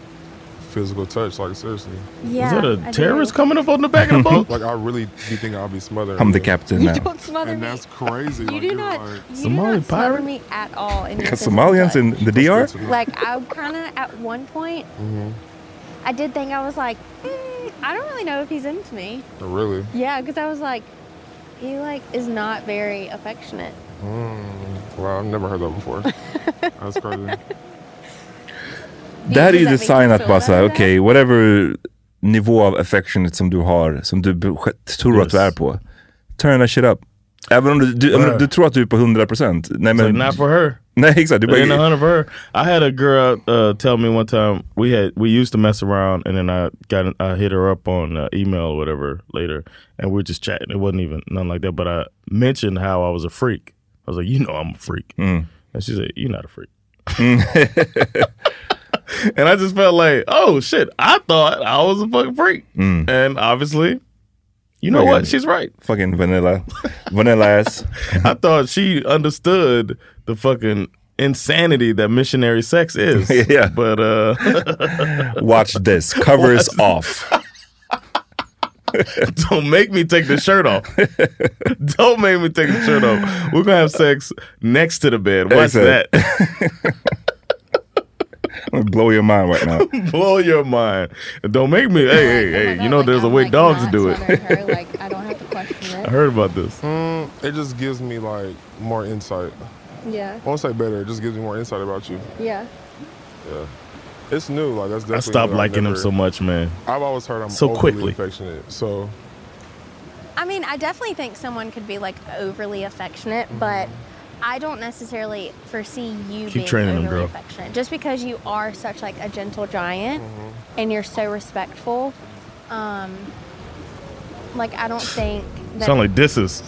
physical touch. Like seriously.
Yeah, Is that a I do. terrorist coming up on the back of
(laughs)
the
(laughs)
boat?
like I really do think I'll be smothered.
I'm the captain You now.
don't
smother
and (laughs) that's crazy.
You
like,
do
you're
not,
Like,
you do not smother me at all. In your
Because
physical
Somalians in the DR?
touch. Like I kind of at one point, I did think I was like, "Mm, I don't really know if he's into me.
Oh, Really?
Yeah, because I was like, he like is not very affectionate.
Mm, wow, I've never heard that before. That's crazy.
Det här är ju
Does
the
that make
sign
you
att
feel
bara såhär,
better?
okej, whatever nivå av affectionate som du har, som du be- sk- tror att du är på, turn that shit up. Även om du, du,
Right.
om du tror att du är på 100%. Nej men...
It's like, not for her.
Nej exakt, du
It ain't a
bara,
hundred for her. I had a girl uh, tell me one time we had we used to mess around, and then I got I hit her up on uh, email or whatever later, and we were just chatting. It wasn't even nothing like that, but I mentioned how I was a freak. I was like, you know, I'm a freak,
Mm.
and she said, you're not a freak. (laughs) and I just felt like, oh shit, I thought I was a fucking freak,
Mm.
and obviously, you know
Fucking-
what? She's right.
Fucking vanilla. Vanilla ass.
(laughs) I thought she understood the fucking insanity that missionary sex is.
(laughs) Yeah.
But uh (laughs)
watch this. Covers off.
Don't make me take the
(laughs)
shirt off. Don't make me take the shirt off. We're gonna have sex next to the bed. Watch
Exakt.
that.
I'm gonna blow your mind right now.
(laughs) Blow your mind. Don't make me hey, hey, hey. You know there's a way dogs do it. (laughs) I heard about this.
Mm, it just gives me like more insight.
Yeah.
I won't say better. It just gives me more insight about you.
Yeah.
Yeah. It's new. Like that's definitely.
I stopped
new. I've
liking him
never-
so much, man.
I've always heard I'm
So
overly
quickly.
affectionate. So
I mean, I definitely think someone could be like overly affectionate, but I don't necessarily foresee you
Mm-hmm. Keep
being
training them,
overly
girl.
affectionate. Just because you are such like a gentle giant
Mm-hmm.
and you're so respectful, um, like I don't think that (laughs)
Sound like disses.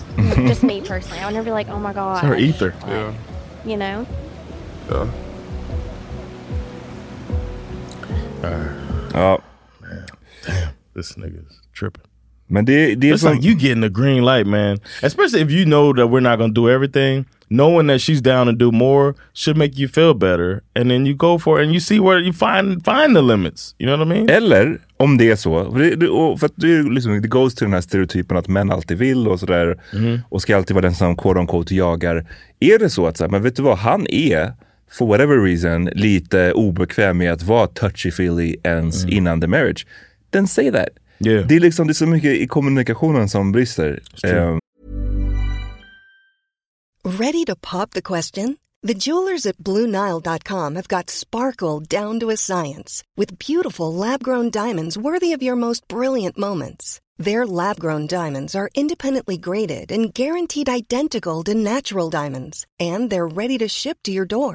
just me personally. I would never be like, oh my god,
It's her ether.
Yeah.
you know.
Yeah.
Ja.
This nigga's tripping.
Men det, det är
It's
som...
like you getting a green light, man. Especially if you know that we're not gonna do everything. Knowing that she's down to do more should make you feel better, and then you go for it, and you see where you find find the limits. You know what I mean?
Eller om det är så, för det, det- och för att det, är ju liksom, det goes till den här stereotypen att män alltid vill och
Mm-hmm.
sådär och ska alltid vara den som quote unquote jagar. Är det så att så här, men vet du vad, han är for whatever reason, lite obekväm med att vara touchy-feely ens
Mm.
innan the marriage, then say that. Det, är liksom, det är så mycket i kommunikationen som brister.
true.
Eh,
Ready to pop the question? The jewelers at BlueNile.com have got sparkle down to a science with beautiful lab grown diamonds worthy of your most brilliant moments. Their lab grown diamonds are independently graded and guaranteed identical to natural diamonds, and they're ready to ship to your door.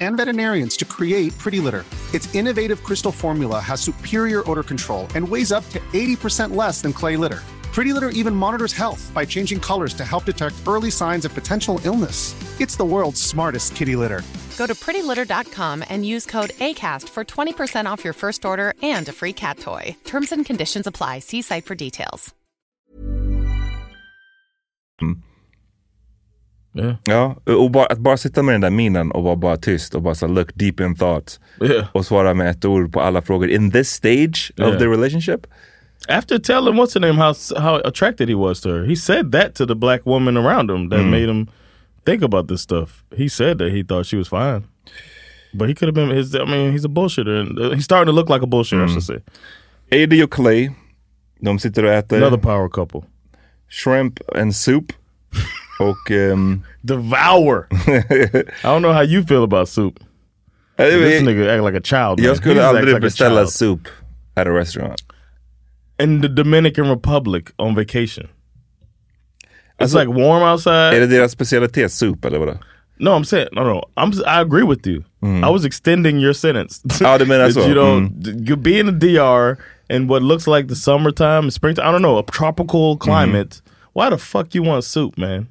and veterinarians to create Pretty Litter. Its innovative crystal formula has superior odor control and weighs up to 80% less than clay litter. Pretty Litter even monitors health by changing colors to help detect early signs of potential illness. It's the world's smartest kitty litter.
Go to prettylitter.com and use code ACAST for 20% off your first order and a free cat toy. Terms and conditions apply. See site for details.
Ja, och bara, att bara sitta med den där minen och vara bara tyst och bara så här, look deep in thought
Yeah.
och svara med ett ord på alla frågor in this stage
Yeah.
of the relationship.
After telling what's her name how how attracted he was to her, he said that to the black woman around him
Mm.
that made him think about this stuff. He said that he thought she was fine, but he could have been his. I mean, he's a bullshitter, and uh, he's starting to look like a bullshitter. I should say.
Adi och Mm. Clay, de sitter och äter
Another power couple.
eh, shrimp and
(laughs)
soup och... Um, (laughs)
Devour! I don't know how you feel about soup. this nigga act like a child. man.
Jag
He
skulle
just acts
aldrig
like a
beställa
child.
soup at a restaurant.
in the Dominican Republic on vacation. It's
Alltså-
like warm outside.
Är det deras specialitet, soup eller vadå?
No, I'm saying no, no. I'm I agree with you. I was extending your sentence.
Ja, det Ah,
(laughs)
menar jag så.
You know,
Mm.
d- you be in the DR in what looks like the summertime, springtime. I don't know, a tropical
Mm-hmm.
climate. Why the fuck you want soup, man?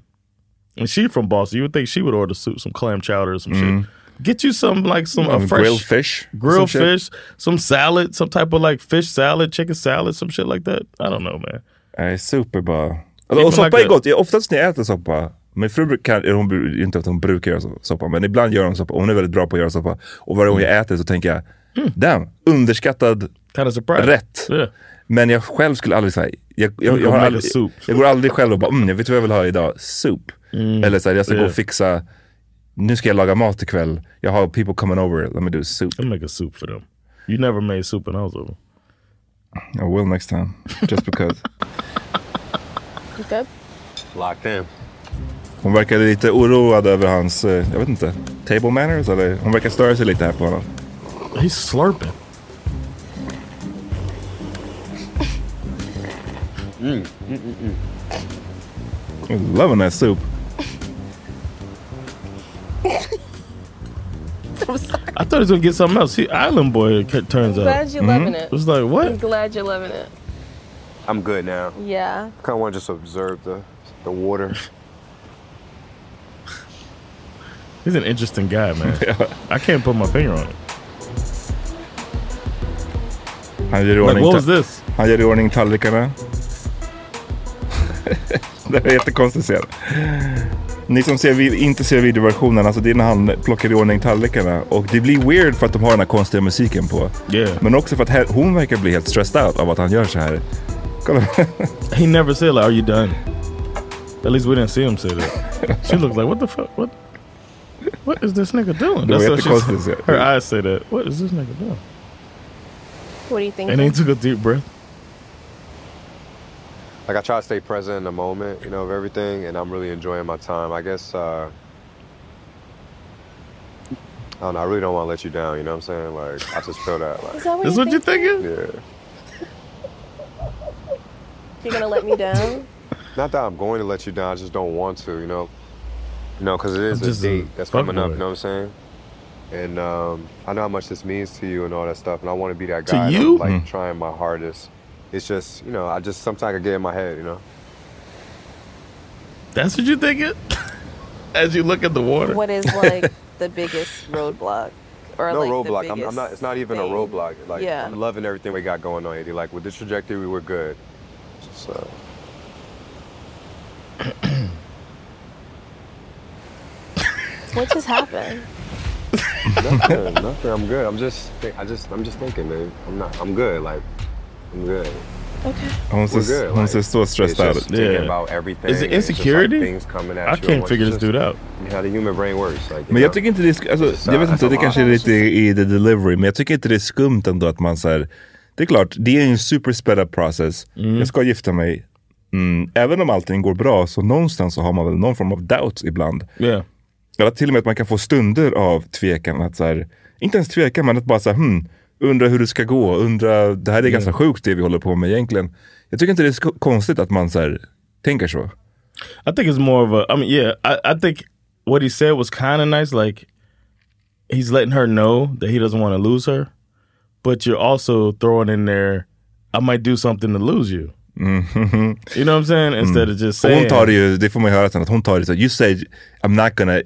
And she from Boston. You would think she would order soup, some clam chowder, or some
Mm.
shit. Get you some like some a
Mm,
fresh
grilled fish,
grilled
some shit.
fish, some salad, some type of like fish salad, chicken salad, some shit like that. I don't know, man.
Nej, soup är bara...
Even
Och soppa
like
är
that.
gott. Jag- Oftast när jag äter soppa, min fru brukar, hon, bru- inte att hon brukar göra so- soppa, men ibland gör hon soppa. Hon är väldigt bra på att göra soppa. Och varje gång jag äter så tänker jag,
Mm.
damn, underskattad rätt. Men jag själv skulle aldrig säga, jag,
You
jag,
go
jag, har
make a
aldrig,
soup.
jag går aldrig själv och bara, mm, jag vet vad jag vill ha idag, soup.
Mm.
Eller så här, jag ska gå
Yeah.
och fixa, nu ska jag laga mat ikväll, jag har people coming over, let me do soup.
I'll make a soup for them. You never made soup when I was over.
I will next time, just because.
You good?
Locked in.
Hon verkade lite oroad över hans, eh, jag vet inte, table manners eller hon verkar störa sig lite här på honom.
He's slurping.
Mm. Mm, mm, mm.
Loving that soup.
I thought he was gonna get something else. He Island Boy. It cu- turns
I'm
out.
glad you're loving it.
Mm-hmm. It's like
I'm
what?
glad you're loving it.
I'm good now.
Yeah.
Kind of want to just observe the
(laughs)
the water.
He's an interesting
(laughs)
guy, man. I can't put my finger on it.
Han gör i
Like,
ordning,
what
ta-
was this?
Han gör i ordning tallrikarna. (laughs) det är jättekonstigt scen. Ni som ser, vid- inte ser videoversionen, alltså det är när han plockar i ordning tallrikarna. Och det blir weird för att de har den här konstiga musiken på.
Yeah.
Men också för att he- hon verkar bli helt stressed out av att han gör så här. Kolla. (laughs)
He never said like, "Are you done?" At least we didn't see him say (laughs) that. she looked like, "What the fuck? What? What is this nigga doing?"
No, we have
what
to
she
close
said.
this, yeah.
Her eyes say that. What is this nigga doing?
What do you think?
And then he took a deep breath.
Like I try to stay present in the moment, you know, of everything, and I'm really enjoying my time. I guess uh, I don't know. I really don't want to let you down. You know what I'm saying? Like I just feel that. Like
Is that what That's you what you
thinking? Yeah.
You're gonna let me down?
Not that I'm going to let you down. I just don't want to. You know. You know, because it is
I'm just
a
a
date that's
fuck
coming up.
boy.
You know what I'm saying? And um, I know how much this means to you and all that stuff. And I want to be that
To
guy. and
you?
I'm, like
Mhm.
trying my hardest. It's just you know, I just sometimes I get in my head. You know.
That's what you think it? (laughs) As you look at the water.
What is like the biggest roadblock? Or
no
like
roadblock.
The
I'm, I'm not. It's not even a roadblock. Like
Yeah.
I'm loving everything we got going on, Eddie. Like with this trajectory, we were good. So
What What just happened?
nothing, Uh, nothing. I'm good. I'm just. thi- I just. I'm just thinking, man. I'm not. I'm good. Like I'm good.
Okay.
Hon ser,
We're good,
hon ser så stressed
It's
out.
just thinking about everything.
Is it
and it's just, like,
insecurity?
things coming at
I
you
can't
at once.
figure
It's
this dude
just-
out.
You know how the human brain works. Like, you
Men jag
know?
tycker inte det är sk- alltså, jag vet inte, det kanske är lite i the delivery, men jag tycker inte det är skumt ändå att man såhär, det är klart, det är ju en super sped up process. Jag ska gifta mig. Mm, även om allting går bra, så någonstans så har man väl någon form av doubts ibland.
Yeah.
Eller till och med att man kan få stunder av tvekan. Att så här, inte ens tvekan, men att bara så här, hmm, undra hur det ska gå. Undra, det här är ganska sjukt det vi håller på med egentligen. Jag tycker inte det är sk- konstigt att man så här, tänker så.
I think it's more of a. I mean, yeah, I, I think what he said was kind of nice. Like he's letting her know that he doesn't want to lose her, but you're also throwing in there, I might do something to lose you.
Mhm.
You know what I'm saying? Instead of just
Mm. Och
saying.
Hon tar det ju, det får man ju höra sen, att hon tar det så här, you said I'm not gonna,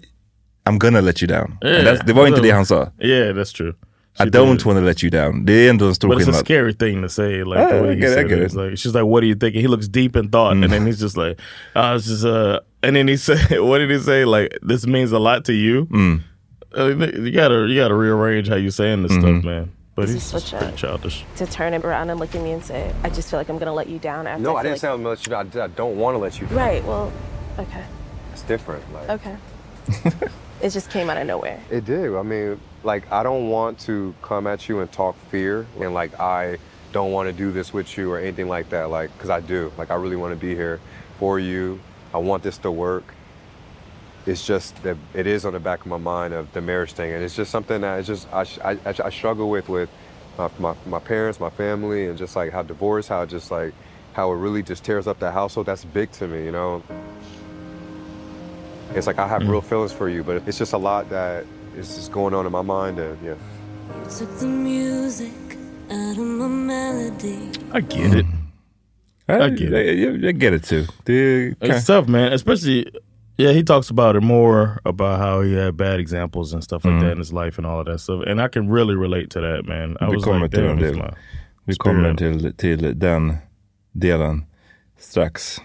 I'm gonna let you down.
Yeah,
And that's- det var inte det han sa.
Yeah, that's true.
I don't wanna let you down. Det är ändå en stor
But it's a
skillnad.
scary thing to say. Like
Ah,
the way
I
he
get it, I
said
get
it.
it. Mm.
It's like she's like, "What are you thinking?" He looks deep in thought, and then he's just like, "I was just uh." And then he (laughs) said, "What did he say? Like this means a lot to you."
Mm.
I mean, you gotta you gotta rearrange how you saying this
Mhm.
stuff, man. But
This
he's
is
just
such
pretty
a-
childish.
(laughs) To turn him around and look at me and say, I just feel like I'm gonna let you down after.
No,
I
I
feel
didn't say I'm gonna let you down. I did- I don't want to let you
like-
down.
Right. Well. Okay.
It's different. Like
Okay. it just came out of
(laughs)
nowhere.
it did. I mean, like I don't want to come at you and talk fear and like I don't want to do this with you or anything like that. Like, 'cause I do. Like I really want to be here for you. I want this to work. It's just that it is on the back of my mind of the marriage thing, and it's just something that it's just I sh- I, I, I struggle with with my, my my parents, my family, and just like how divorce, how just like how it really just tears up the household. That's big to me, you know. It's like I have real feelings for you, but it's just a lot that is just going on in my mind, and yeah.
Took the music out of my melody.
I get it. I get it.
I, get it too.
it's tough, man. Especially, yeah. He talks about it more about how he had bad examples and stuff like
Mm.
that in his life and all of that stuff. And I can really relate to that, man. I
Vi
was
kommer
like,
till
damn,
den
this
delen.
my
Vi kommer till, till den delen strax.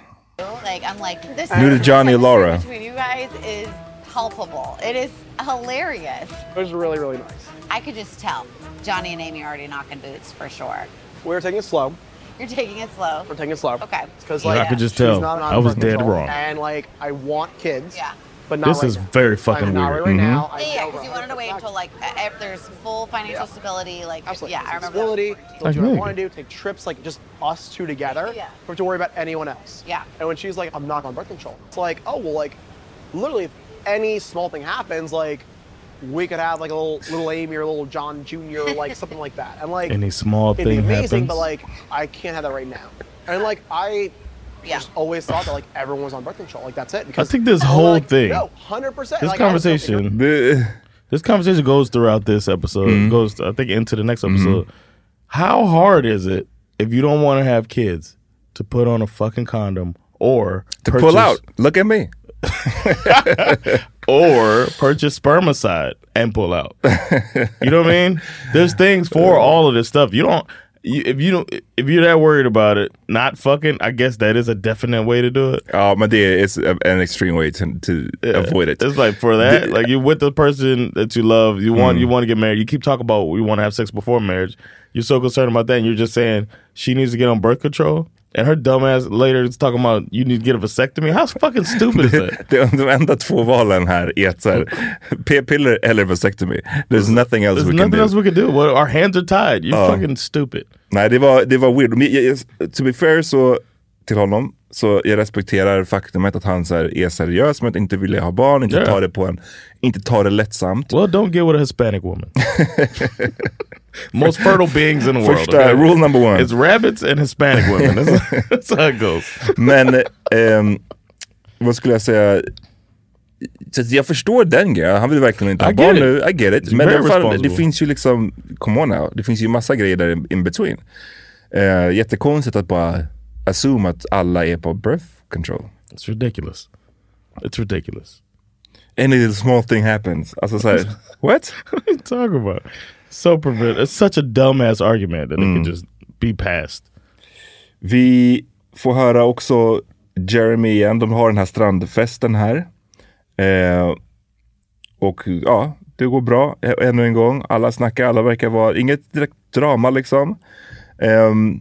Like I'm like this.
Nu är det Johnny och Laura.
Between you guys is palpable. It is hilarious.
It was really, really nice.
I could just tell. Johnny and Amy are already knocking boots for sure.
We were taking it slow.
You're taking it slow.
We're taking it slow.
Okay.
Because
Yeah,
like
I could just
she's
tell.
not on
I was
birth
dead
control,
wrong.
And like I want kids. Yeah. But not
This
right
is
now.
very
So I'm
fucking
not
weird.
Right
Mhm.
now. I
Yeah, yeah,
know we're
because you want to wait until like uh, if there's full financial stability, like yeah, I remember.
Stability.
Like,
Like, do what I
nigga.
want to do. Take trips. Like just us two together. Yeah. Don't have to worry about anyone else. Yeah. And when she's like, I'm not on birth control. It's like, oh well, like, literally, if any small thing happens, like, we could have like a little little Amy or little John Jr. or like something like that. And like,
Any small
it'd
thing
be amazing,
happens.
but like, I can't have that right now. And like, I. Just always thought that like everyone was on birth control, like that's it.
I
Because
think this whole thing,
no, hundred percent.
this conversation, this conversation goes throughout this episode. It
Mm-hmm.
goes, I think, into the next episode. How hard is it if you don't want to have kids to put on a fucking condom or
To pull out. Look at me.
or purchase spermicide and pull out. You know what I mean? There's things for all of this stuff. You don't. You, if you don't, if you're that worried about it, not fucking. I guess that is a definite way to do it.
Ja, men det är Oh, it's a- an extreme way to, to avoid it.
It's like for that, like you're with the person that you love. You
Mm.
want you want to get married. You keep talking about you want to have sex before marriage. You're so concerned about that, and you're just saying she needs to get on birth control. And her dumbass later is talking about you need to get a vasectomy. How fucking stupid is that?
De, de enda två valen här är att så här, (laughs) p-piller eller vasectomy. There's nothing else
There's
we can
nothing
do. Oh.
else we can do. Well, our hands are tied. You're
Ja.
fucking stupid.
Nej, det var, det var weird. Men jag, jag, to be fair så, till honom, så jag respekterar faktumet att han så här, är seriös med att inte vilja ha barn, inte
Yeah.
ta det på en, inte ta det lättsamt. (laughs)
Well, don't get with a Hispanic woman. Most fertile beings in the world.
Första, rule number one.
It's rabbits and Hispanic women. That's, (laughs) that's how it goes.
Men ehm, vad skulle jag säga? Så att jag förstår den grejen. Han vill verkligen inte ha
I
barn
get it.
nu. I get it.
It's
Men i
very
alla fall, det
responsible.
finns ju liksom, come on now. Det finns ju massa grejer där in- in between. Eh, jättekonstigt att bara assume att alla är på birth control.
It's ridiculous. It's ridiculous.
Any little small thing happens. Alltså så
(laughs)
här, what?
what are you talking about? So prevent. It's such a dumbass argument that
Mm.
it could just be passed.
Vi får höra också Jeremy igen. De har den här strandfesten här. Eh, och ja, det går bra Ä- ännu en gång. Alla snackar, alla verkar vara, inget direkt drama liksom. Ehm,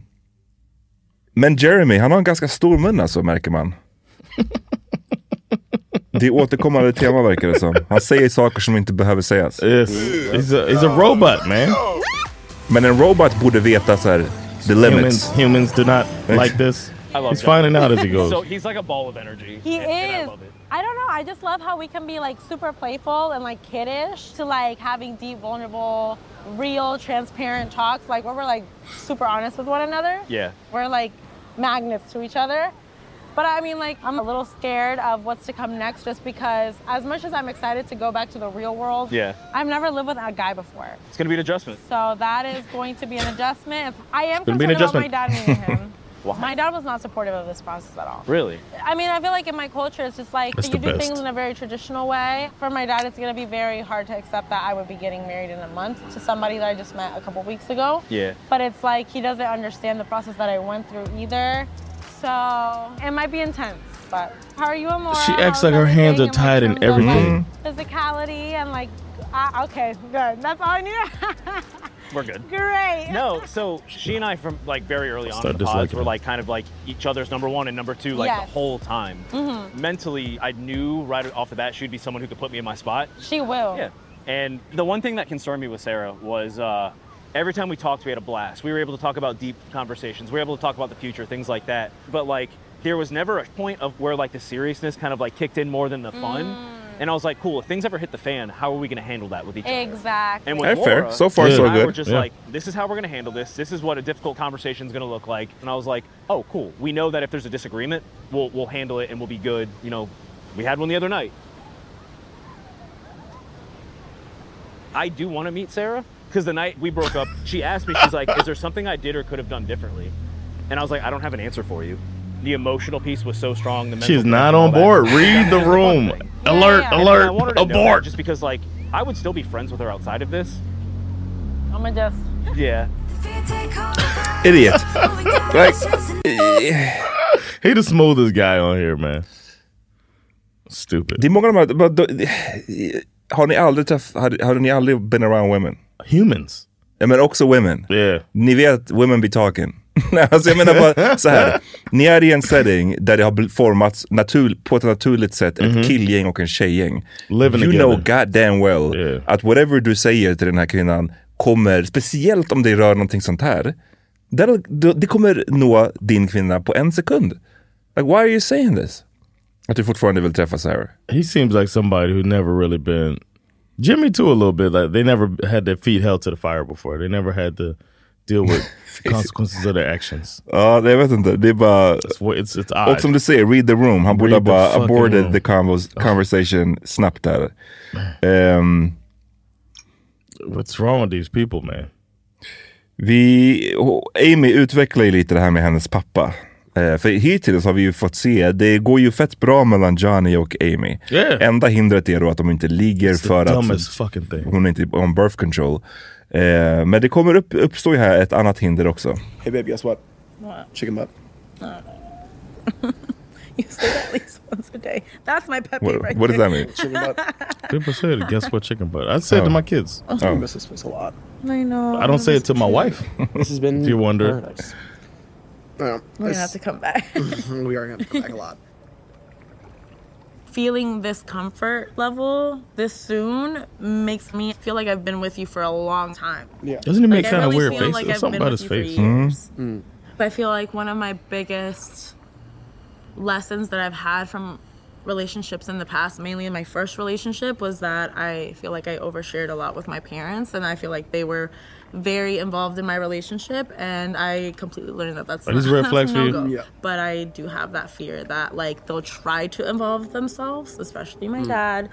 men Jeremy, han har en ganska stor mun alltså märker man. Det är återkommande tema verkar det som. Han säger saker som inte behöver sägas.
Yes. He's a, he's a robot man.
Men en robot borde veta så här, the limits.
Humans, humans do not like this.
I love
He's
that.
finding out
(laughs)
as he goes.
So he's like a ball of energy.
He is. I, don't know. I just love how we can be like super playful and like kiddish to like having deep, vulnerable, real, transparent talks, like where we're like super honest with one another.
Yeah.
We're like magnets to each other. But I mean, like, I'm a little scared of what's to come next just because, as much as I'm excited to go back to the real world,
Yeah.
I've never lived with a guy before.
It's gonna be an adjustment.
So that is going to be an adjustment. I am
It's gonna be an
concerned about my
adjustment.
dad meeting him.
(laughs) Why?
My dad was not supportive of this process at all. (laughs)
Really?
I mean, I feel like in my culture, it's just like
That's
you
the
do
best.
things in a very traditional way. For my dad, it's gonna be very hard to accept that I would be getting married in a month to somebody that I just met a couple weeks ago.
Yeah.
But it's like he doesn't understand the process that I went through either. So it might be intense. But how are you, Amora?
She acts
How's
like her hands are
everything?
tied in everything.
Mm-hmm.
Physicality and like, I, okay, good. That's all I (laughs) need.
We're good.
Great.
No, so she and I from like very early on
Start
in the pods
disliking
were
him.
like kind of like each other's number one and number two like
Yes.
the whole time.
Mhm.
Mentally, I knew right off the bat she'd be someone who could put me in my spot.
She will.
Yeah. And the one thing that concerned me with Sarah was uh, every time we talked, we had a blast. We were able to talk about deep conversations. We were able to talk about the future, things like that. But like, there was never a point of where like the seriousness kind of like kicked in more than the fun. And I was like, cool. If things ever hit the fan, how are we going to handle that with each other?
Exactly.
And with
Hey, fair.
Laura,
So far,
she
so
and I
good.
Were just
Yeah.
like, this is how we're going to handle this. This is what a difficult conversation is going to look like. And I was like, oh, cool. We know that if there's a disagreement, we'll we'll handle it and we'll be good. You know, we had one the other night. I do want to meet Sarah because the night we broke up, she asked me, she's like, is there something I did or could have done differently? And I was like, I don't have an answer for you. The emotional piece was so strong. The mental
She's
piece
not
and all
on
that.
board.
Yeah,
Read
and
the
it's one
room.
thing.
Alert,
And I wanted
alert,
to know that
abort.
Just because, like, I would still be friends with her outside of this.
I'm gonna just.
Yeah. (laughs)
Idiot.
like, he the smoothest guy on here man. Stupid.
Det är många av de här, bara- då- har ni aldrig träff, har, har ni aldrig been around women?
Humans.
Ja, men också women. Ni vet att women be talking. Nej, alltså jag menar
(laughs)
bara så här. Ni är i en setting där det har bl- formats natur, på ett naturligt sätt
Mhm.
ett killgäng och en tjejgäng.
Living
you
together.
know god damn well att whatever du säger till den här kvinnan kommer, speciellt om det rör någonting sånt här, där, då- det kommer nå din kvinna på en sekund. Like why are you saying this? Att du fortfarande vill träffa Sarah.
He seems like somebody who never really been Jimmy too a little bit. Like they never had their feet held to the fire before. They never had to deal
(laughs)
with consequences of their actions.
Ja, det- jag vet inte. Det är bara...
It's, it's odd.
Och som du säger, read the room. Han borde ha
Read the
bara
fucking
aborted
room.
the convos, conversation snabbt där. Ehm,
What's wrong with these people man?
vi, och Amy utvecklar ju lite det här med hennes pappa. Eh, för hittills har vi ju fått se, det går ju fett bra mellan Johnny och Amy.
Yeah.
Enda hindret är då att de inte ligger
It's the
för att
dumbest fucking thing.
hon är inte är on birth control. Eh, men det kommer upp, uppstå ju här ett annat hinder också.
Hey, babe, guess what?
What?
Chicken butt.
(laughs) You say that at least once a day. That's my pet peeve
What-
right
what does
there.
that mean? Chicken People say it. Guess what chicken butt? I say it
Oh.
to my kids.
Oh. I miss
This place a lot.
(laughs) I know.
I don't say it to my wife.
(laughs) This has been
If you wonder.
paradise.
We're gonna have to come back.
(laughs) we are gonna come back a lot.
Feeling this comfort level this soon makes me feel like I've been with you for a long time.
Yeah.
Doesn't he make
Like, I
kind of
really
weird
feel
faces?
like I've
There's something
been
about
with
his
you for
face. Hmm?
years.
Mm,
I feel like one of my biggest lessons that I've had from relationships in the past, mainly in my first relationship, was that I feel like I overshared a lot with my parents, and I feel like they were very involved in my relationship, and I completely learned that that's
Are these
not-
red
that's (laughs)
flags
a
for you?
no-go.
Yeah.
But I do have that fear that like they'll try to involve themselves, especially my dad.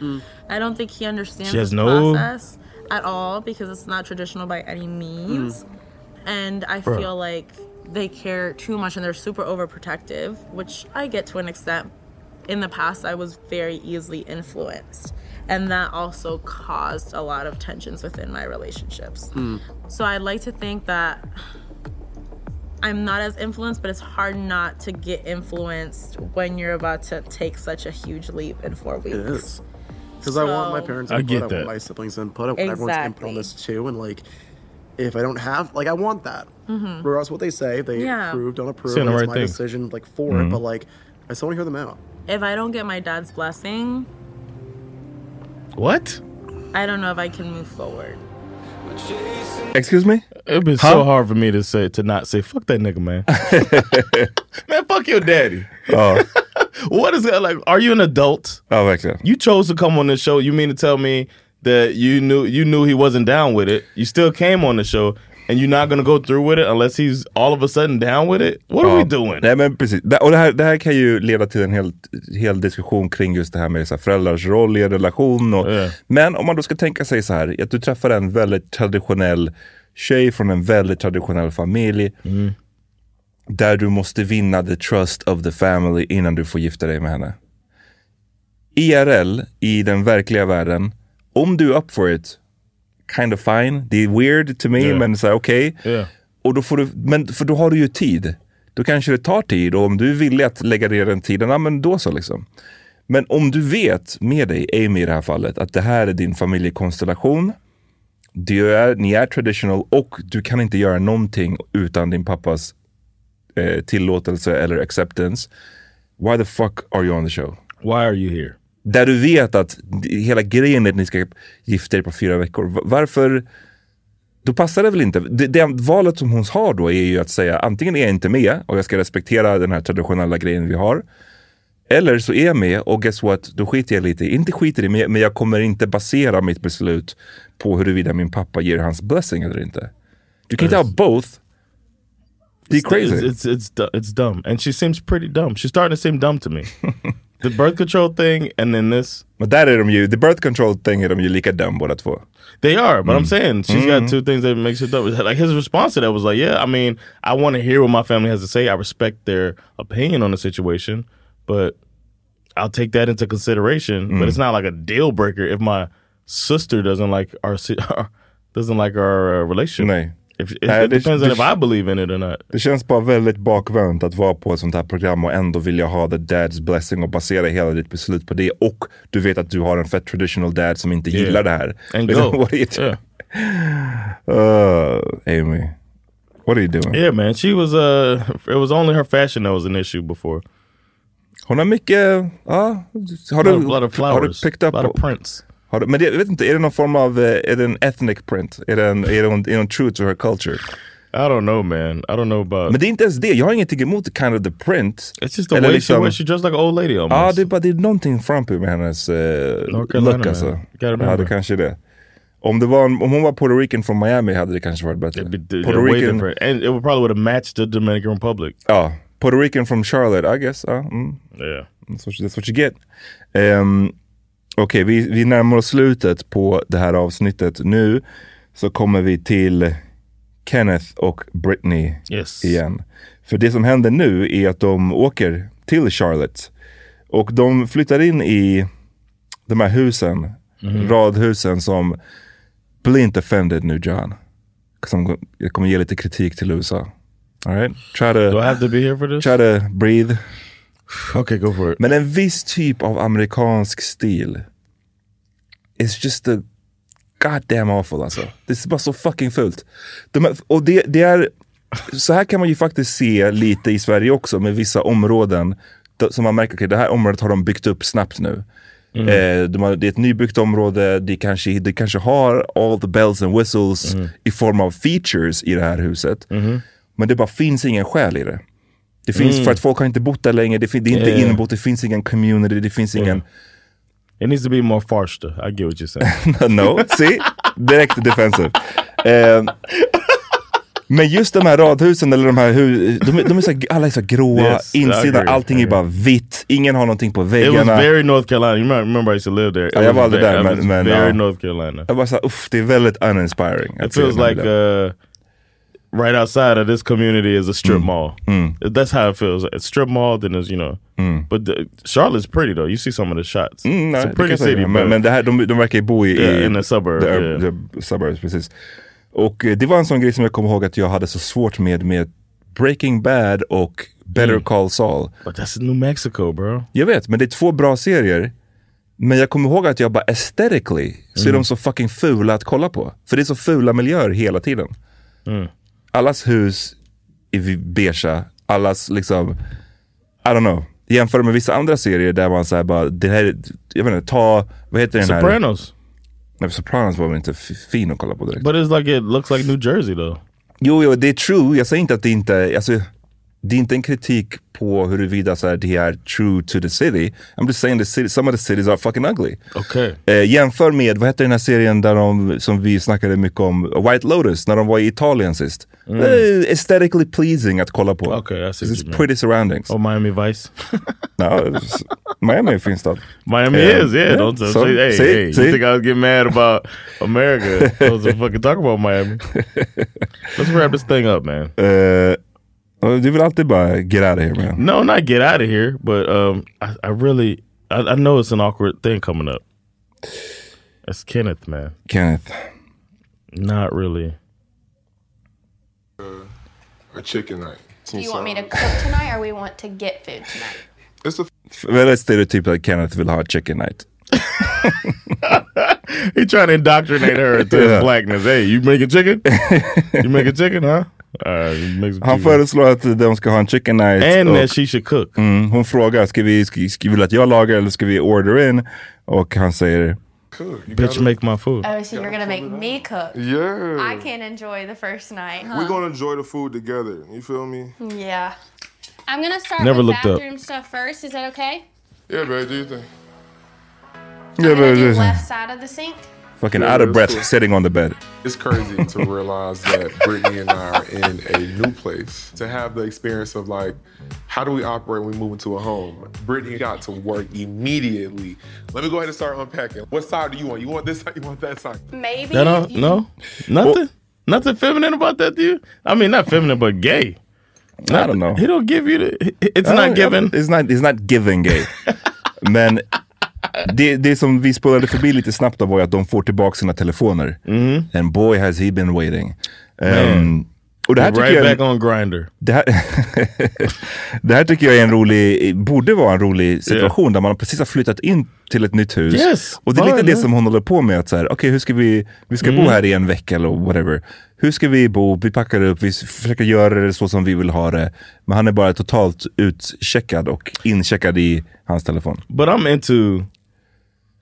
I don't think he understands
Mm. She has
this
no-
process at all because it's not traditional by any means and I
Bruh.
feel like they care too much and they're super overprotective, which I get to an extent. In the past, I was very easily influenced, and that also caused a lot of tensions within my relationships.
Hmm. mm.
So I'd like to think that I'm not as influenced, but it's hard not to get influenced when you're about to take such a huge leap in four weeks.
It is. Because I want my
So-
parents
I
input,
get
I,
that.
want my siblings input, I want everyone's input
Exactly.
on this too. And like, if I don't have, like, I want that.
Mhm.
Regardless of what they say, they
Yeah.
approve, don't approve.
Saying the
and
right
it's my
thing.
decision, like, for it.
Mhm.
But like, I still want to hear them out.
If I don't get my dad's blessing,
What?
I don't know if I can move forward.
Excuse me?
It'd be
Huh?
so hard for me to say to not say fuck that
(laughs)
nigga, man. man, fuck your daddy.
Oh.
(laughs) what is that like? Are you an adult?
Oh, verkligen.
You chose to come on this show. You mean to tell me that you knew you knew he wasn't down with it? You still came on the show, and you're not gonna go through with it unless he's all of a sudden down with it? What
Oh.
are we doing?
Nej, men precis. Det- Och det, här, det här kan ju leda till en hel, hel diskussion kring just det här med så här, föräldrars roll i en relation. Och, Men om man då ska tänka sig så här, att du träffar en väldigt traditionell tjej från en väldigt traditionell familj.
Mm.
Där du måste vinna the trust of the family innan du får gifta dig med henne. IRL, i den verkliga världen, om du är up for it, kind of fine. Det är weird to me,
Yeah.
men så här, okej.
Yeah.
Och då får du, men för då har du ju tid. Då kanske det tar tid och om du är villig att lägga ner den tiden, ja men då så liksom. Men om du vet med dig, Amy i det här fallet, att det här är din familjekonstellation. Du är, ni är traditional och du kan inte göra någonting utan din pappas eh, tillåtelse eller acceptance. Why the fuck are you on the show?
Why are you here?
Där du vet att d- hela grejen är att ni ska gifta er på fyra veckor. Va- Varför? Då passar det väl inte? Det, det valet som hon har då är ju att säga antingen är jag inte med och jag ska respektera den här traditionella grejen vi har. Eller så är jag med och guess what, då skiter jag lite i- Inte skiter i, men men jag kommer inte basera mitt beslut på huruvida min pappa ger hans blessing eller inte. Du kan inte ha both. Det är
It's-
crazy.
It's, it's it's du- it's dumb, and she seems pretty dumb. She's starting to seem dumb
(laughs)
to me. the birth control thing, and then this.
But that är de ju, the birth control thing är de ju lika dumb båda två.
They are, but I'm saying she's
Mm.
got two things that makes her dumb. Like his response to that was like, "Yeah, I mean, I want to hear what my family has to say. I respect their opinion on the situation, but I'll take that into consideration.
Mm.
But it's not like a deal breaker if my sister doesn't like our si- (laughs) doesn't like our uh, relationship. If, it,
Nej,
it
det-
depends on
det-
if I believe in it or not.
Det känns bara väldigt bakvänt att vara på ett sånt här program och ändå vilja ha the dad's blessing och basera hela ditt beslut på det. Och du vet att du har en fett traditional dad som inte
Yeah.
gillar det här.
And
Liksom, (laughs)
go.
What are you doing? Uh, Amy, what are you doing?
Yeah, man. She was uh it was only her fashion that was an issue before.
Hon har mycket, ja, har
A
du,
lot of- lot of
har du
flowers,
picked up?
lot of prints.
Har du, men det, jag vet inte, är det någon form av, eh, är det en ethnic print? Är det, en, är det, en, är det en true to her culture?
I don't know man, I don't know about...
Men det är inte ens det, jag har ingenting emot kind of the print.
It's just The way she was, she dressed like an old lady almost.
Ja, det, är bara- det är någonting frumpy med hennes eh,
North Carolina,
look alltså.
man. Gotta
Ja,
remember.
det kanske är det. Om, det var, en- om hon var Puerto Rican från Miami hade det kanske varit bättre. Puerto
They're way
Rican, Ah.
different. And it would probably would have matched the Dominican Republic.
ja, Puerto Rican from Charlotte, I guess. ja, mm.
Yeah.
That's what, that's what you get. Ehm, Okej, vi, vi närmar oss slutet på det här avsnittet. Nu så kommer vi till Kenneth och Britney
Yes.
igen. För det som händer nu är att de åker till Charlotte. Och de flyttar in i de här husen,
Mhm.
radhusen som... Bli inte offended nu John. 'Cause I'm go- Jag kommer ge lite kritik till USA. All right? Try to,
Do I have to be here for this?
Try to breathe.
Okay, go for it.
Men en viss typ av amerikansk stil is just the goddamn awful alltså. Det är bara så fucking fult. De här, och det, det är, så här kan man ju faktiskt se lite i Sverige också med vissa områden. då- Som man märker, okay, det här området har de byggt upp snabbt nu.
Mm.
Eh, de har, det är ett nybyggt område, det kanske, det kanske har all the bells and whistles
Mm.
i form av features i det här huset. Men det bara finns ingen själ i det. Det finns,
Mm-hmm. Mm.
för att folk har inte bott där länge, det, fin- det är inte
Yeah.
inbott, det finns ingen community, det finns ingen...
It needs to be more farster. I get what you're
(laughs)
saying.
no, see? Direkt defensive. Eh, men just de här radhusen eller de här hu- de, de är så, alla är så gråa,
Yes, I
insidan,
agree.
allting är bara vitt, ingen har någonting på
It was
väggarna.
very North Carolina. You might remember I used to live there. It
Ja, jag var
was
aldrig
ve-
där
it
men...
was
men
very
ja.
North Carolina.
Jag bara såhär, uff, det är väldigt uninspiring.
It feels like uh, right outside of this community is a strip mall. That's how it feels. A strip mall, then there's you know. But the, Charlotte's pretty though. You see some of the shots.
nej,
it's a
det
pretty
kan jag säga.
city,
Men-
but
men det här, de, de verkar ju bo i...
Yeah,
i
in the suburb,
The,
yeah.
the suburbs, precis. Och eh, det var en sån grej som jag kommer ihåg att jag hade så svårt med, med Breaking Bad och Better
Mm.
Call Saul.
But that's New Mexico bro.
Jag vet, men det är två bra serier. Men jag kommer ihåg att jag bara aesthetically så är
Mm.
de så fucking fula att kolla på. För det är så fula miljöer hela tiden.
Mm.
Allas hus är vi- beigea, allas liksom, I don't know. Jämför med vissa andra serier där man säger bara, det här, jag vet inte, ta, vad heter den här?
Sopranos.
Nej, Sopranos var väl inte f- fin att kolla på direkt.
But it's like it looks like New Jersey though.
Jo, jo, det är true. Jag säger inte att det inte är, alltså, det är inte en kritik på huruvida så här, det är true to the city. I'm just saying the city, some of the cities are fucking ugly.
Okay.
Eh, jämför med, vad hette den här serien där de, som vi snackade mycket om, White Lotus, när de var i Italien sist.
Mm.
Eh, aesthetically pleasing att kolla på.
Okay, I see.
It's pretty surroundings.
typ- Oh, Miami
(laughs)
Vice.
no, it's- Miami är en fin stad.
Miami
Eh,
is, yeah. Don't
so,
say, hey,
see,
hey,
see?
you think I was getting mad about (laughs) America? I was fucking talk about Miami. Let's wrap this thing up, man.
Eh, du vill alltid bara get out of here man.
No, not get out of here, but um, I, I really, I, I know it's an awkward thing coming up. That's Kenneth, man.
Kenneth.
Not really.
A chicken night.
Do you want me to cook tonight or we want to get food tonight?
It's a
Väldigt stereotypt att Kenneth vill ha chicken night.
He trying to indoctrinate her to
Yeah.
his blackness. Hey, you making
(laughs)
chicken? you making chicken, huh? Uh, make some
Han
chicken.
föreslår att de ska ha en chicken night.
And that she should cook.
Mm, hon frågar, ska vi, ska, ska, vill du att jag lagar eller ska vi order in? Och han säger,
bitch make my food.
Oh, so you're gonna make me cook?
Yeah.
I can't enjoy the first night. Huh?
We're gonna enjoy the food together. You feel me?
Yeah. I'm gonna start
Never
with
looked up.
bathroom stuff first. Is that okay?
Yeah, babe. Do you think?
Yeah,
I'm gonna
but
do
listen.
left side of the sink.
fucking
Yeah,
out of
that's
breath
cool.
sitting on the bed.
It's crazy to realize that Brittany and I are in a new place. To have the experience of like, how do we operate when we move into a home? Brittany got to work immediately. Let me go ahead and start unpacking. What side do you want? You want this side? You want that side?
Maybe.
No, no, no, nothing, nothing feminine about that, dude. I mean, not feminine, but gay.
I don't know.
He don't give you the. It's
Ja,
not
ja,
given.
Ah, It's not, it's not given
(laughs)
gay. Men det, det som vi spolade förbi lite snabbt då var ju att de får tillbaka sina telefoner.
Mm-hmm.
And boy has he been waiting. Ehm, och det här tycker
right
jag är en-
back on grinder.
Det här, (laughs) det här tycker jag är en rolig, borde vara en rolig situation där man precis har flyttat in till ett nytt hus.
Yes,
och det är lite
fan,
det
ja.
som hon håller på med. att så här, okej, hur ska Vi, vi ska bo
Mm.
här i en vecka eller whatever. Hur ska vi bo? Vi packar upp, vi s- försöker göra det så som vi vill ha det. Men han är bara totalt utcheckad och incheckad i hans telefon.
But I'm into.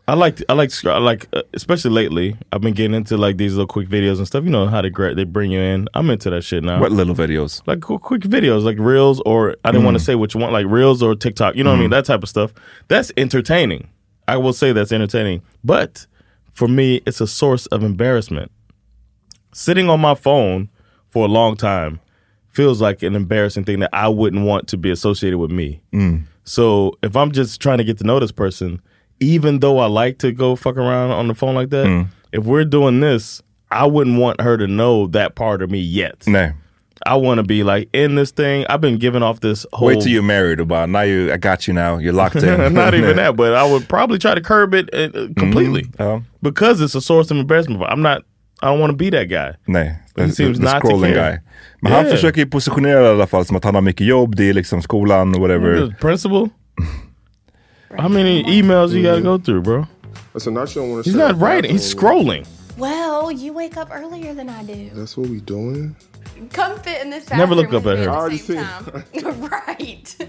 I like I like I like uh, especially lately. I've been getting into like these little quick videos and stuff. You know how to gra- they bring you in. I'm into that shit now.
What little videos? Mm.
Like quick, quick videos, like reels or I didn't want to say which one, like reels or TikTok. You know what I mean? That type of stuff. That's entertaining. I will say that's entertaining. But for me, it's a source of embarrassment. Sitting on my phone for a long time feels like an embarrassing thing that I wouldn't want to be associated with me.
Mm.
So if I'm just trying to get to know this person, even though I like to go fuck around on the phone like that,
Mm.
if we're doing this, I wouldn't want her to know that part of me yet.
No.
I want to be like in this thing. I've been giving off this whole.
Wait till you're married about. Now you, I got you now. You're locked in.
(laughs)
(laughs)
Not even that, but I would probably try to curb it uh, uh, completely because it's a source of embarrassment. I'm not. I don't want to be that guy.
Nej,
He
the,
seems
the
not to
scrolling
care.
guy. Men han
Yeah.
försöker ju positionera det i alla fall som att han har mycket jobb, det är liksom skolan, whatever.
The principal. How many emails you gotta go through, bro?
Listen, I don't want
He's not writing. He's scrolling.
Well, you wake up earlier than I do.
That's what we doing.
Come fit in this
Never
bathroom.
look up at her.
I already seen.
(laughs) right.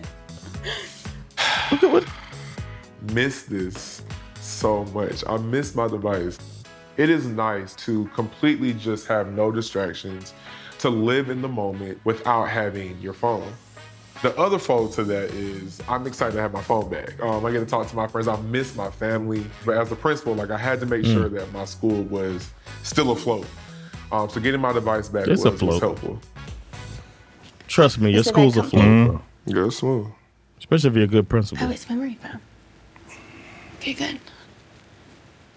miss this so much. I miss my device. It is nice to completely just have no distractions, to live in the moment without having your phone. The other fold to that is I'm excited to have my phone back. Um, I get to talk to my friends. I miss my family. But as a principal, like I had to make
Mm.
sure that my school was still afloat. Um, so getting my device back was,
It's
was
afloat.
helpful.
Trust me, your
It's a
school's
bad
a flow.
company.
bro.
Yeah, it's smooth.
Especially if you're a good principal.
Oh, it's memory foam. Okay, good.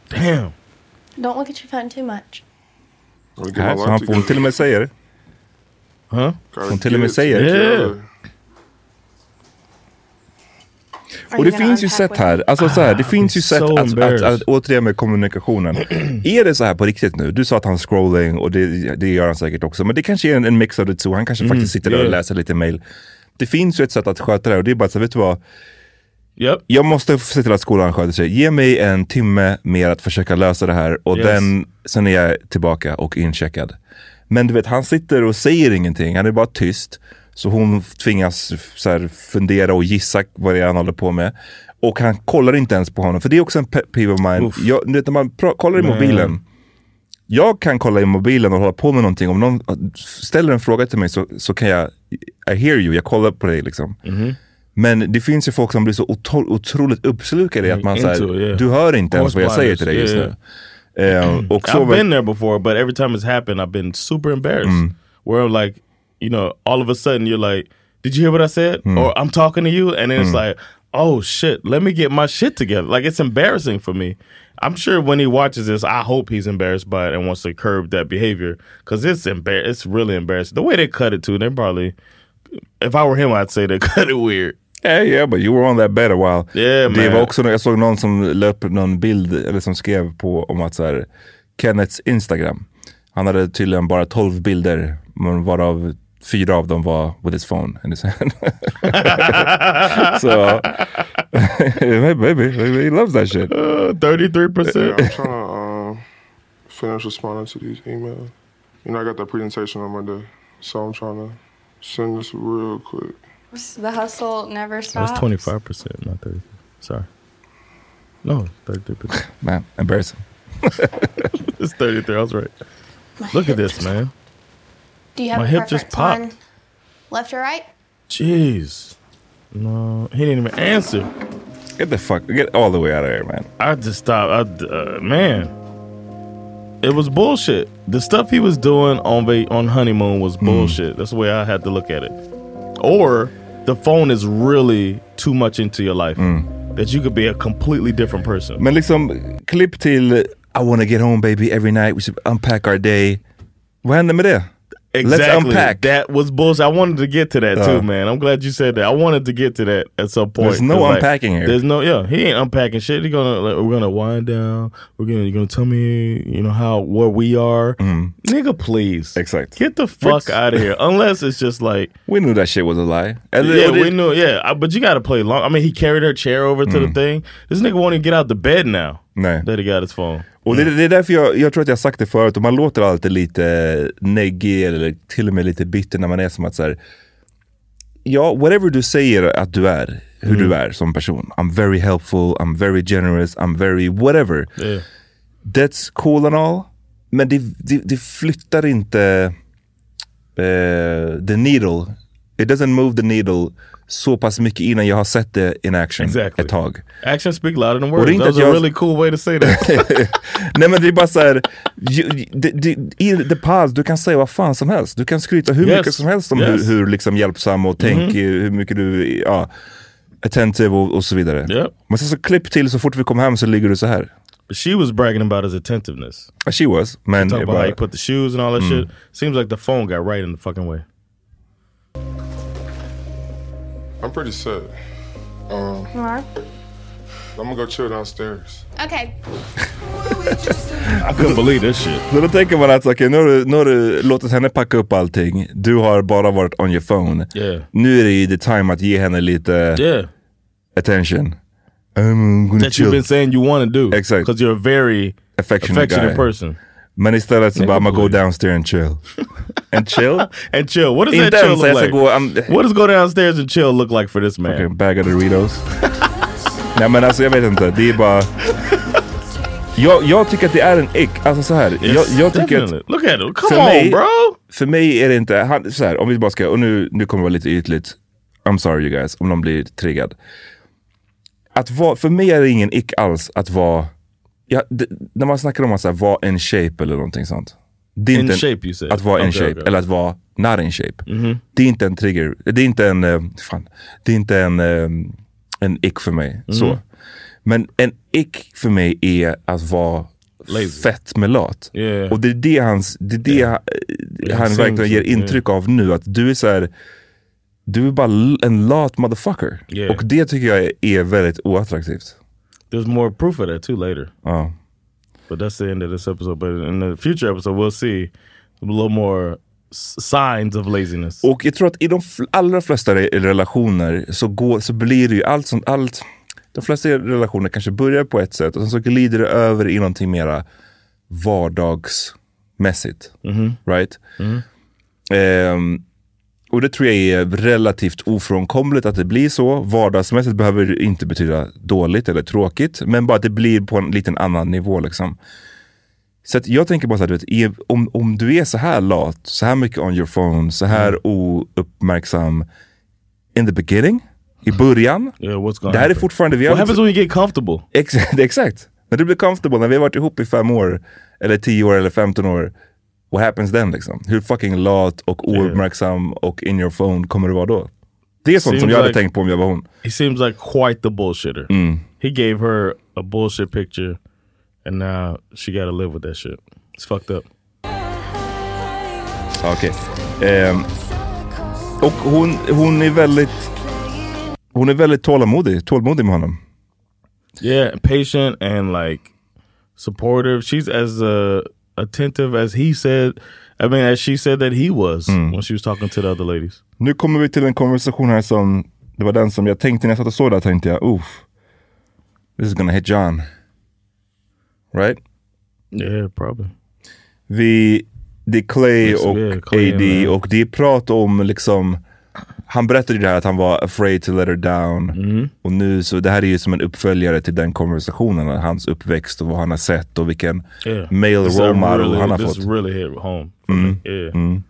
Damn.
Don't look at your phone too much.
Nej, så han får hon till och med säga det.
Huh?
Hon till och med säger det.
Yeah.
Och det finns ju sätt här, alltså så här, det finns ju sätt
Ah, so
att, att, att,
embarrassed.
återigen med kommunikationen. (clears throat) är det så här på riktigt nu? Du sa att han scrolling och det, det gör han säkert också, men det kanske är en, en mix av det två. Han kanske
Mm,
faktiskt sitter där och
yeah.
läser lite mail. Det finns ju ett sätt att sköta det här och det är bara så här, vet du vad? Jag måste se till att skolan sköter sig. Ge mig en timme mer att försöka lösa det här och
Yes.
den, sen är jag tillbaka och incheckad. Men du vet, han sitter och säger ingenting. Han är bara tyst. Så hon tvingas så här, fundera och gissa vad det är han håller på med. Och han kollar inte ens på honom. För det är också en pet peeve of mine. Jag, du vet, när man pra- kollar i
Man.
mobilen. Jag kan kolla i mobilen och hålla på med någonting. Om någon ställer en fråga till mig så, så kan jag, I hear you, jag kollar på dig liksom.
Mhm.
Men det finns ju folk som blir så otro, otroligt uppslukade i att man
Mm, Into it,
säger,
yeah.
du hör inte ens vad jag säger till dig
Correspondence,
just nu.
yeah,
Eh, och så
(clears throat) I've
var-
been there before, but every time it's happened, I've been super embarrassed.
Mm.
Where I'm like, you know, all of a sudden you're like, "Did you hear what I said?"
Mm.
Or I'm talking to you, and then it's like, "Oh shit, let me get my shit together." Like it's embarrassing for me. I'm sure when he watches this, I hope he's embarrassed by it and wants to curb that behavior because it's embar- It's really embarrassing the way they cut it too. They probably, if I were him, I'd say they (laughs) cut it weird.
Yeah, yeah, but you were on that bed a while.
Yeah,
Det
man.
var också, jag såg någon som la upp någon bild, eller som skrev på om att så här, Kenneths Instagram. Han hade tydligen bara 12 bilder, men varav fyra av dem var with his phone in his hand. (laughs) so, maybe, maybe he loves that shit.
Uh,
Yeah, I'm trying to um, finish responding to these emails. You know, I got that presentation on Monday, so I'm trying to send this real quick.
The hustle never stops.
That's twenty five percent, not thirty. Sorry. No, thirty three percent.
Man, embarrassing.
it's thirty three. I was right. Look at this, man.
Do you have
My
a
hip just
preference on Left or right?
Jeez. No, he didn't even answer.
Get the fuck, get all the way out of here, man.
I just stopped. I, uh, man, it was bullshit. The stuff he was doing on va- on honeymoon
Mm.
was bullshit. That's the way I had to look at it. Or the phone is really too much into your life
Mm.
that you could be a completely different person.
Men liksom, klipp till I wanna get home baby every night, we should unpack our day. Vad hände med det? Let's
Exactly.
unpack.
That was bullshit. I wanted to get to that
Uh.
too, man. I'm glad you said that. I wanted to get to that at some point.
There's no
'Cause,
unpacking here.
There's no yeah. He ain't unpacking shit. He gonna like, we're gonna wind down. We're gonna you're gonna tell me you know how where we are,
Mm-hmm.
nigga. Please,
exactly.
Get the fuck out of here. Unless it's just like
we knew that shit was a lie. And then-
yeah,
och det-
we knew. Yeah, I- but you got to play long. I mean, he carried her chair over to
Mm.
the thing. This nigga won't even get out the bed now.
Nej.
That he got his phone.
Och det, det är därför jag, jag tror att jag har sagt det förut, och man låter alltid lite neggig eller till och med lite bitter när man är som att så här, ja, whatever du säger att du är, hur du
Mm.
är som person, I'm very helpful, I'm very generous, I'm very whatever.
Yeah.
(laughs)
That's cool and all, men det, det, det flyttar inte eh, the needle. It doesn't move the needle så pass mycket innan jag har sett det in action
Exactly.
ett tag.
Actions speak louder than
Och det är
words.
inte
That was
att
a
jag-
really cool way to say that.
(laughs) Nej men det är bara såhär, i the past, du kan säga vad fan som helst. Du kan skryta hur
Yes.
mycket som helst om
Yes.
hur, hur liksom hjälpsam och tänk,
Mhm.
eh, hur mycket du, ja, attentive och, och så vidare.
Yep.
Men sen så klipp till så fort vi kom hem så ligger du så här.
She was bragging about his attentiveness.
She was,
Man,
men
talk
det är
about
bara-
how you put the shoes and all that
Mm.
shit. Seems like the phone got right in the fucking way.
I'm pretty set.
Uh,
Um,
You are?
I'm gonna go chill downstairs.
Okay.
I couldn't believe this
(laughs)
shit.
Så då tänker man att okay, nu, har du, nu har du låtit henne packa upp allting, du har bara varit on your phone.
Yeah.
Nu är det ju the time att ge henne lite
Yeah.
attention. I'm gonna
That you've
chill.
been saying you want to do.
Exakt.
Because you're a very
affectionate, guy.
affectionate person.
Men istället så
Nigga,
bara, I'm gonna go downstairs and chill.
(laughs)
and chill?
and chill. What does
Inte
that chill
ens
look
jag
like?
ska gå- I'm-
what does go downstairs and chill look like for this man?
Fucking bag of
(laughs)
Doritos. Nej men alltså jag vet (laughs) inte, det är bara... Jag, jag tycker att det är en ick, alltså så här. jag, jag tycker att...
definitely. Look at him. Come
För
on,
mig-
bro.
För mig är det inte, han, så här, om vi bara ska, och nu, nu kommer det vara lite ytligt. I'm sorry you guys, om de blir triggad. Att vara, för mig är det ingen ick alls att vara... Ja, d- när man snackar om att så här, vara in shape eller någonting sånt. Det är
In
inte en,
shape, you say?
Att vara in
Okay, Mm-hmm.
shape
okay.
eller att vara not in shape. Det är inte en trigger. Det är inte en... eh, Fan, det är inte en, eh, en ick för mig. Så.
Mhm.
Men en ick för mig är att vara fett med lat.
Yeah.
Och det är det, hans, det, är det
Ja,
han
same
verkligen ger
shit, yeah.
intryck av nu. Att du är så här, du är bara l- en lat motherfucker.
Yeah.
Och det tycker jag är, är väldigt oattraktivt.
There's more proof of that too later.
Oh.
But that's the end of this episode. But in the future episode, we'll see a little more s- signs of laziness.
Och jag tror att i de fl- allra flesta re- relationer så, går, så blir det ju allt som allt. De flesta relationer kanske börjar på ett sätt och sen så glider det över i någonting mera vardagsmässigt. Right? Ehm, och det tror jag är relativt ofrånkomligt att det blir så. Vardagsmässigt behöver det inte betyda dåligt eller tråkigt, men bara att det blir på en liten annan nivå. Liksom. Så att jag tänker bara så här, du vet, är, om, om du är så här lat, så här mycket on your phone, så här
Mm.
ouppmärksam in the beginning, i början.
gonna
det här är
happen?
fortfarande...
What happens when you get comfortable?
(laughs) Exakt, exakt. När du blir comfortable, när vi har varit ihop i fem år, eller tio år, eller 15 år. What happens then liksom? Hur fucking lat och ouppmärksam och in your phone kommer du vara då? Det är sånt som
Seems
jag hade
like-
tänkt på om jag var hon.
He seems like quite the bullshitter.
Mm.
He gave her a bullshit picture, and now she got to live with that shit. It's fucked up.
Okej. Ehm, och hon, hon är väldigt... Hon är väldigt tålamodig, tålmodig med honom.
Yeah, patient and like supportive. She's as uh, attentive as he said. I mean, as she said that he was
Mm.
when she was talking to the other ladies.
Nu kommer vi till en konversation här som, det var den som jag tänkte när jag satt och såg det här, tänkte jag, oof. This is gonna hit John. Right?
Yeah, probably.
Vi, det är Clay
Yes,
och
yeah, Clay
AD
and-
och det är prat om liksom, han berättade ju det här att han var afraid to let her down.
Mm.
Och nu så, det här är ju som en uppföljare till den konversationen, hans uppväxt och vad han har sett och vilken
Yeah.
male
This
role model
really,
han har
this
fått.
really hit home.
Mm.
Yeah.
Mm.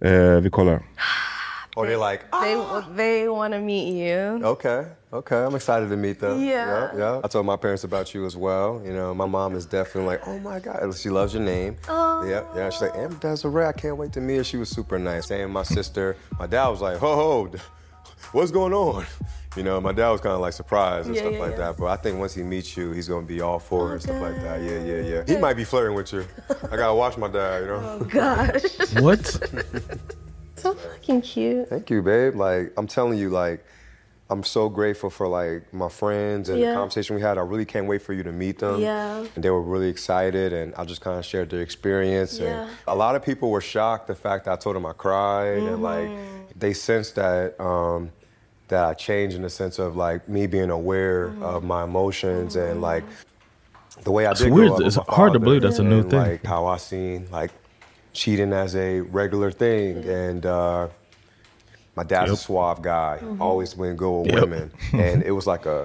Eh, vi kollar.
Or Oh, they like,
They they want to meet you.
okay, okay, I'm excited to meet them.
Yeah.
yeah, yeah. I told my parents about you as well. You know, my mom is definitely like, oh my God, she loves your name.
Aw.
Yeah, yeah. She's like, Aunt Desiree, I can't wait to meet her. She was super nice. Saying my sister, my dad was like, ho ho, (laughs) what's going on? (laughs) You know, my dad was kind of like surprised and
Yeah,
stuff
yeah,
like
yeah.
that. But I think once he meets you, he's gonna be all for it and stuff like that. Yeah, yeah, yeah. He might be flirting with you. I gotta watch my dad, you
(laughs) Oh,
know.
Oh, Gosh. (laughs)
What?
so fucking cute.
Thank you, babe. Like I'm telling you, like I'm so grateful for like my friends and
Yeah.
the conversation we had. I really can't wait for you to meet them.
Yeah.
And they were really excited, and I just kind of shared their experience.
Yeah.
And a lot of people were shocked the fact that I told them I cried, and like
Mm-hmm.
they sensed that um, that I changed in the sense of like me being aware
Mm-hmm.
of my emotions and like the way I
It's
did
weird.
grow up with
It's
my
hard to
father
believe that's a new
and,
thing.
Like how I seen like cheating as a regular thing, and uh, my dad's a suave guy,
Mhm.
always win good with
Yep.
women, and it was like a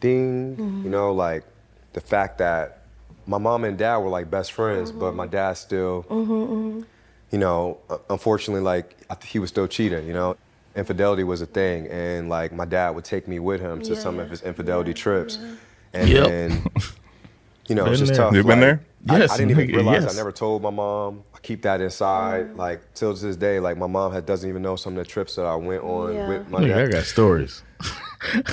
ding, you know, like the fact that my mom and dad were like best friends, but my dad still
Mm-hmm.
you know, u- unfortunately, like I th- he was still cheating, you know. Infidelity was a thing, and like my dad would take me with him to
Yeah,
some of
yeah,
his infidelity trips, and
Yep.
then you know it's
Been
just
there.
tough.
You been
like,
there?
I-
Yes,
I, didn't even
nigga,
realize
yes.
I never told my mom. I keep that inside, like till to this day. Like my mom had, doesn't even know some of the trips that I went on
Yeah.
with my
Nigga, I
dad. (laughs)
got stories. (laughs)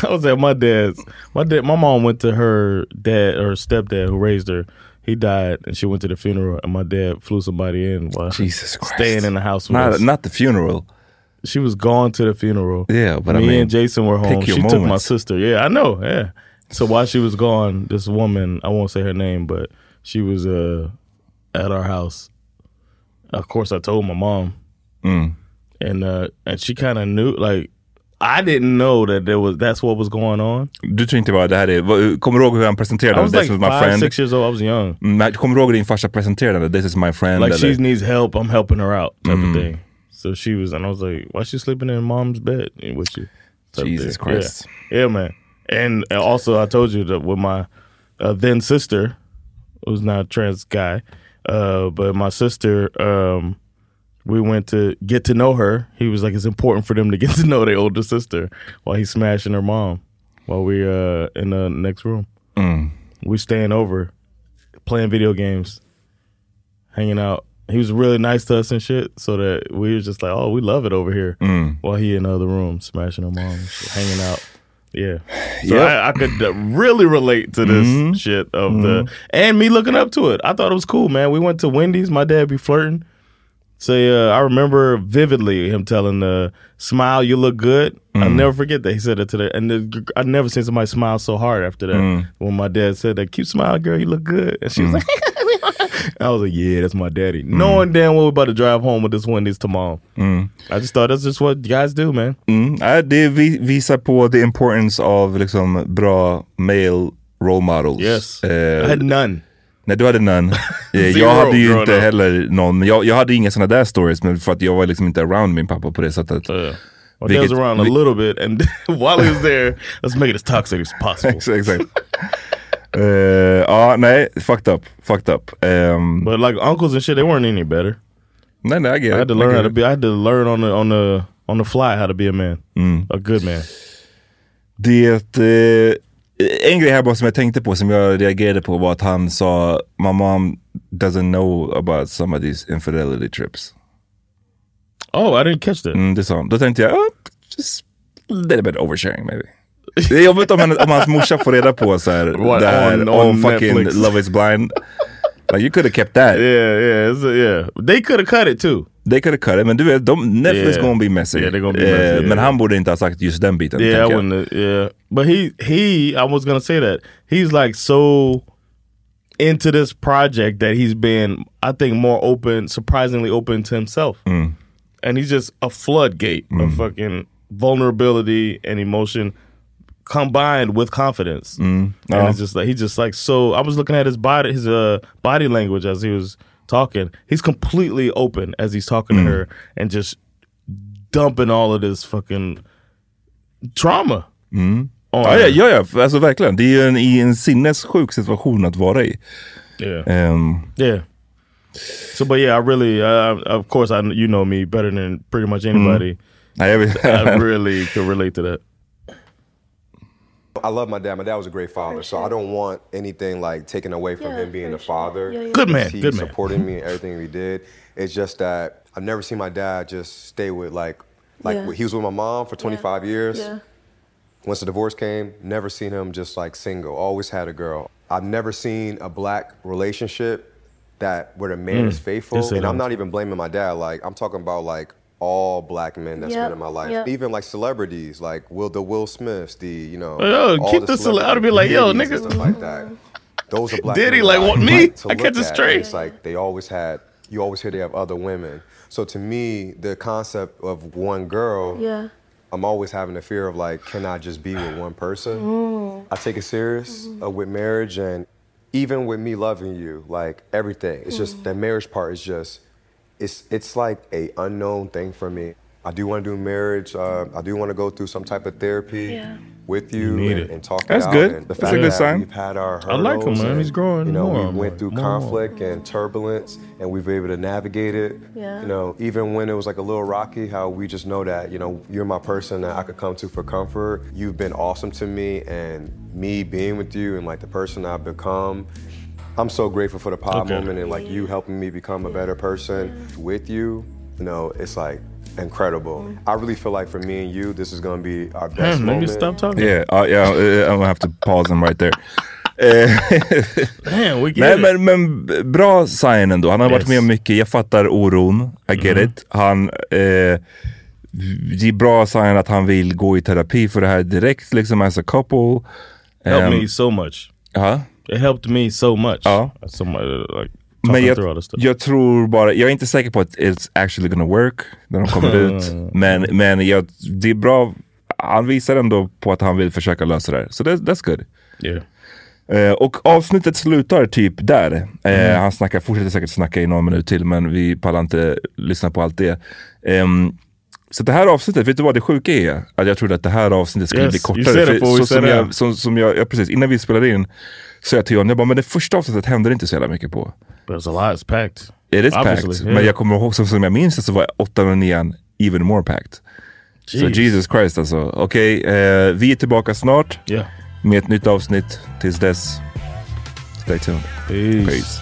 I was at my dad's. My dad, my mom went to her dad or stepdad who raised her. He died, and she went to the funeral. And my dad flew somebody in while
Jesus Christ.
staying in the house. With
Not-
us.
not the funeral.
She was gone to the funeral.
Yeah, but I
me
mean,
and Jason were
pick
home. She
your
took my
moments.
sister. Yeah, I know. Yeah. So while she was gone, this woman I won't say her name, but she was uh, at our house. Of course, I told my mom
Mm.
and uh and she kind of knew like I didn't know that there was that's what was going on.
Du tror inte bara det här är, vad- kommer du ihåg hur han presenterade
I was
This
like
is my
five,
friend.
six years old. I was young.
Mm, Kommer du ihåg hur din farsa presenterade det? This is my friend.
like she
eller-
needs help, I'm helping her out type
Mm.
of thing. So she was and I was like, why she sleeping in mom's bed with you? type
Jesus
thing. Yeah.
Christ.
Yeah. man. And also I told you that with my uh, then sister who's now a trans guy, uh but my sister um we went to get to know her. He was like, it's important for them to get to know their older sister while he's smashing her mom while we uh in the next room.
Mm.
Um, We staying over, playing video games, hanging out. He was really nice to us and shit, so that we was just like, oh, we love it over here.
Mm.
While he in the other room smashing her mom, and shit, hanging out.
(sighs)
Yeah, so
Yep.
I, I could uh, really relate to this
Mhm.
shit of the and me looking up to it. I thought it was cool, man. We went to Wendy's. My dad be flirting. Say, uh, I remember vividly him telling the smile, you look good. I'll
Mm.
never forget that. He said it to the, and the, I've never seen somebody smile so hard after that.
Mm.
When my dad said that, keep smiling, girl, you look good. And she was like, (laughs) I was like, yeah, that's my daddy. Knowing damn well we're about to drive home with this Wendy's tomorrow.
Mm.
I just thought that's just what guys do, man.
Mm. Ja, Det vi- visar på the importance av liksom bra male role models. Yes.
I had none.
Nej, du hade
(laughs)
none. Eh,
Zero
jag hade ju
growing
inte
up.
heller någon. Men Jag, jag hade inga sådana där stories, men för att jag var liksom inte around min pappa på det sättet.
My dad was around a little bit, and (laughs) while he was there, let's make it as toxic as (laughs) possible.
(laughs) Exakt. Eh, Ja, nej, fucked up, fucked up. Um,
But like uncles and shit, they weren't any better.
No, no, I get
I
it.
had to
I
learn
get
how to
it.
be. I had to learn on the on the on the fly how to be a man, a good man.
Det, eh, en grej här bara som jag tänkte på, som jag reagerade på var att han sa My mom doesn't know about some of these infidelity trips.
Oh, I didn't catch that.
Mm, det sa han. Då tänkte jag, oh, just a little bit oversharing maybe. Det är jobbigt om, han, om hans morsa får reda på så här,
What,
det här
on-
om
on
fucking
Netflix?
Love is blind. Like you could have kept that.
Yeah, yeah, it's a, yeah. They could have cut it too.
They could have cut it, men du vet, de, Netflix
Yeah.
gonna be messy.
Yeah, they're gonna be
Eh,
messy,
Men
yeah.
han borde inte ha sagt just den biten.
yeah, I
tänker jag.
wouldn't. Have, yeah, but he he, I was gonna say that he's like so into this project that he's been, I think, more open, surprisingly open to himself,
Mm.
and he's just a floodgate of fucking vulnerability and emotion combined with confidence.
Mm.
And
Ja.
it's just like he's just like so. I was looking at his body, his uh, body language as he was talking. He's completely open as he's talking
Mm.
to her and just dumping all of this fucking trauma.
Mm.
on
Ja, ja,
her.
ja, ja, alltså verkligen. Det är ju en, i en sinnessjuk situation att vara i.
Yeah.
Ehm,
Yeah. So, but yeah, I really, uh, of course, I you know me better than pretty much
Mm-hmm.
anybody.
I,
(laughs) really could relate
(laughs)
to that.
I love my dad. My dad was a great father, so I don't want anything like taken away from him being a father.
yeah. Good man,
He
good man. Mm-hmm.
supported me in everything we did. It's just that I've never seen my dad just stay with like, like
Yeah.
he was with my mom for 25 years.
Yeah.
Once the divorce came, never seen him just like single. Always had a girl. I've never seen a black relationship that where the man
Mm,
is faithful.
yes, I
And I'm
know.
not even blaming my dad. Like I'm talking about like all black men that's
Yep,
been in my life.
yep.
Even like celebrities, like Will the Will Smiths, the you know.
Yo,
all
keep the cele- I'd be like, yo,
celebrities and
nigga.
stuff like that. Those are black.
Did he,
men
like,
that
want me?
to
I
look
catch it
at, and
straight.
It's like they always had. You always hear they have other women. So to me, the concept of one girl.
Yeah.
I'm always having the fear of like, can I just be with one person?
Mm.
I take it serious uh, with marriage and even with me loving you, like everything. It's just that marriage part is just, it's it's like a unknown thing for me. I do want to do marriage. Uh, I do want to go through some type of therapy
Yeah.
with you,
need
and,
it.
and talk it
That's
out.
good.
And the
That's
fact
a good
that
sign.
We've had our
I like him,
hurdles
man.
and,
He's growing
You know,
more and
we went
more,
through
more and more.
conflict and turbulence, and we've been able to navigate it.
Yeah.
You know, even when it was like a little rocky, how we just know that, you know, you're my person that I could come to for comfort. You've been awesome to me, and me being with you and like the person I've become. I'm so grateful for the pod
Okay.
moment and like you helping me become a better person with you. You know, it's like incredible. I really feel like for me and you, this is gonna be our
Mm,
best
Damn, nigga,
moment.
stop talking.
Yeah, uh, yeah, uh, I'm gonna have to pause him right there. (laughs) Eh,
Damn, we get
Nej,
it.
men, men b- bra sign ändå. Han har varit
Yes.
med om mycket. Jag fattar oron. I get
Mhm.
it. Han, eh, det är bra sign att han vill gå i terapi för det här direkt, liksom as a couple.
Helped
Ehm,
me so much.
Huh?
It helped me so much.
Ja.
Somebody, like,
Uh-huh. Men
talking
jag,
through all this stuff.
jag tror bara, jag är inte säker på att it's actually gonna work när de kommer
(laughs)
ut.
Mm.
Men, men jag, det är bra, han visar ändå på att han vill försöka lösa det här. Så that, that's good. Eh, och avsnittet slutar typ där. Eh,
Mm.
Han snackar, fortsätter säkert snacka i någon minut till men vi pallar inte lyssna på allt det. Ehm, så det här avsnittet, vet du vad det sjuka är? Att jag trodde att det här avsnittet skulle
Yes,
bli
you
kortare.
said it before we
så
said
som
it.
jag, som, som jag, ja, precis, innan vi spelade in sa jag till honom, jag bara, men det första avsnittet händer inte så jävla mycket på.
But it's a lot, it's packed.
It is
Obviously,
packed.
yeah.
Men jag kommer ihåg, som, som jag minns det så var 8 och 9 even more packed. Så
Jeez.
Jesus Christ alltså. Okej, eh, vi är tillbaka snart
Ja.
med ett nytt avsnitt. Tills dess, stay tuned. Peace.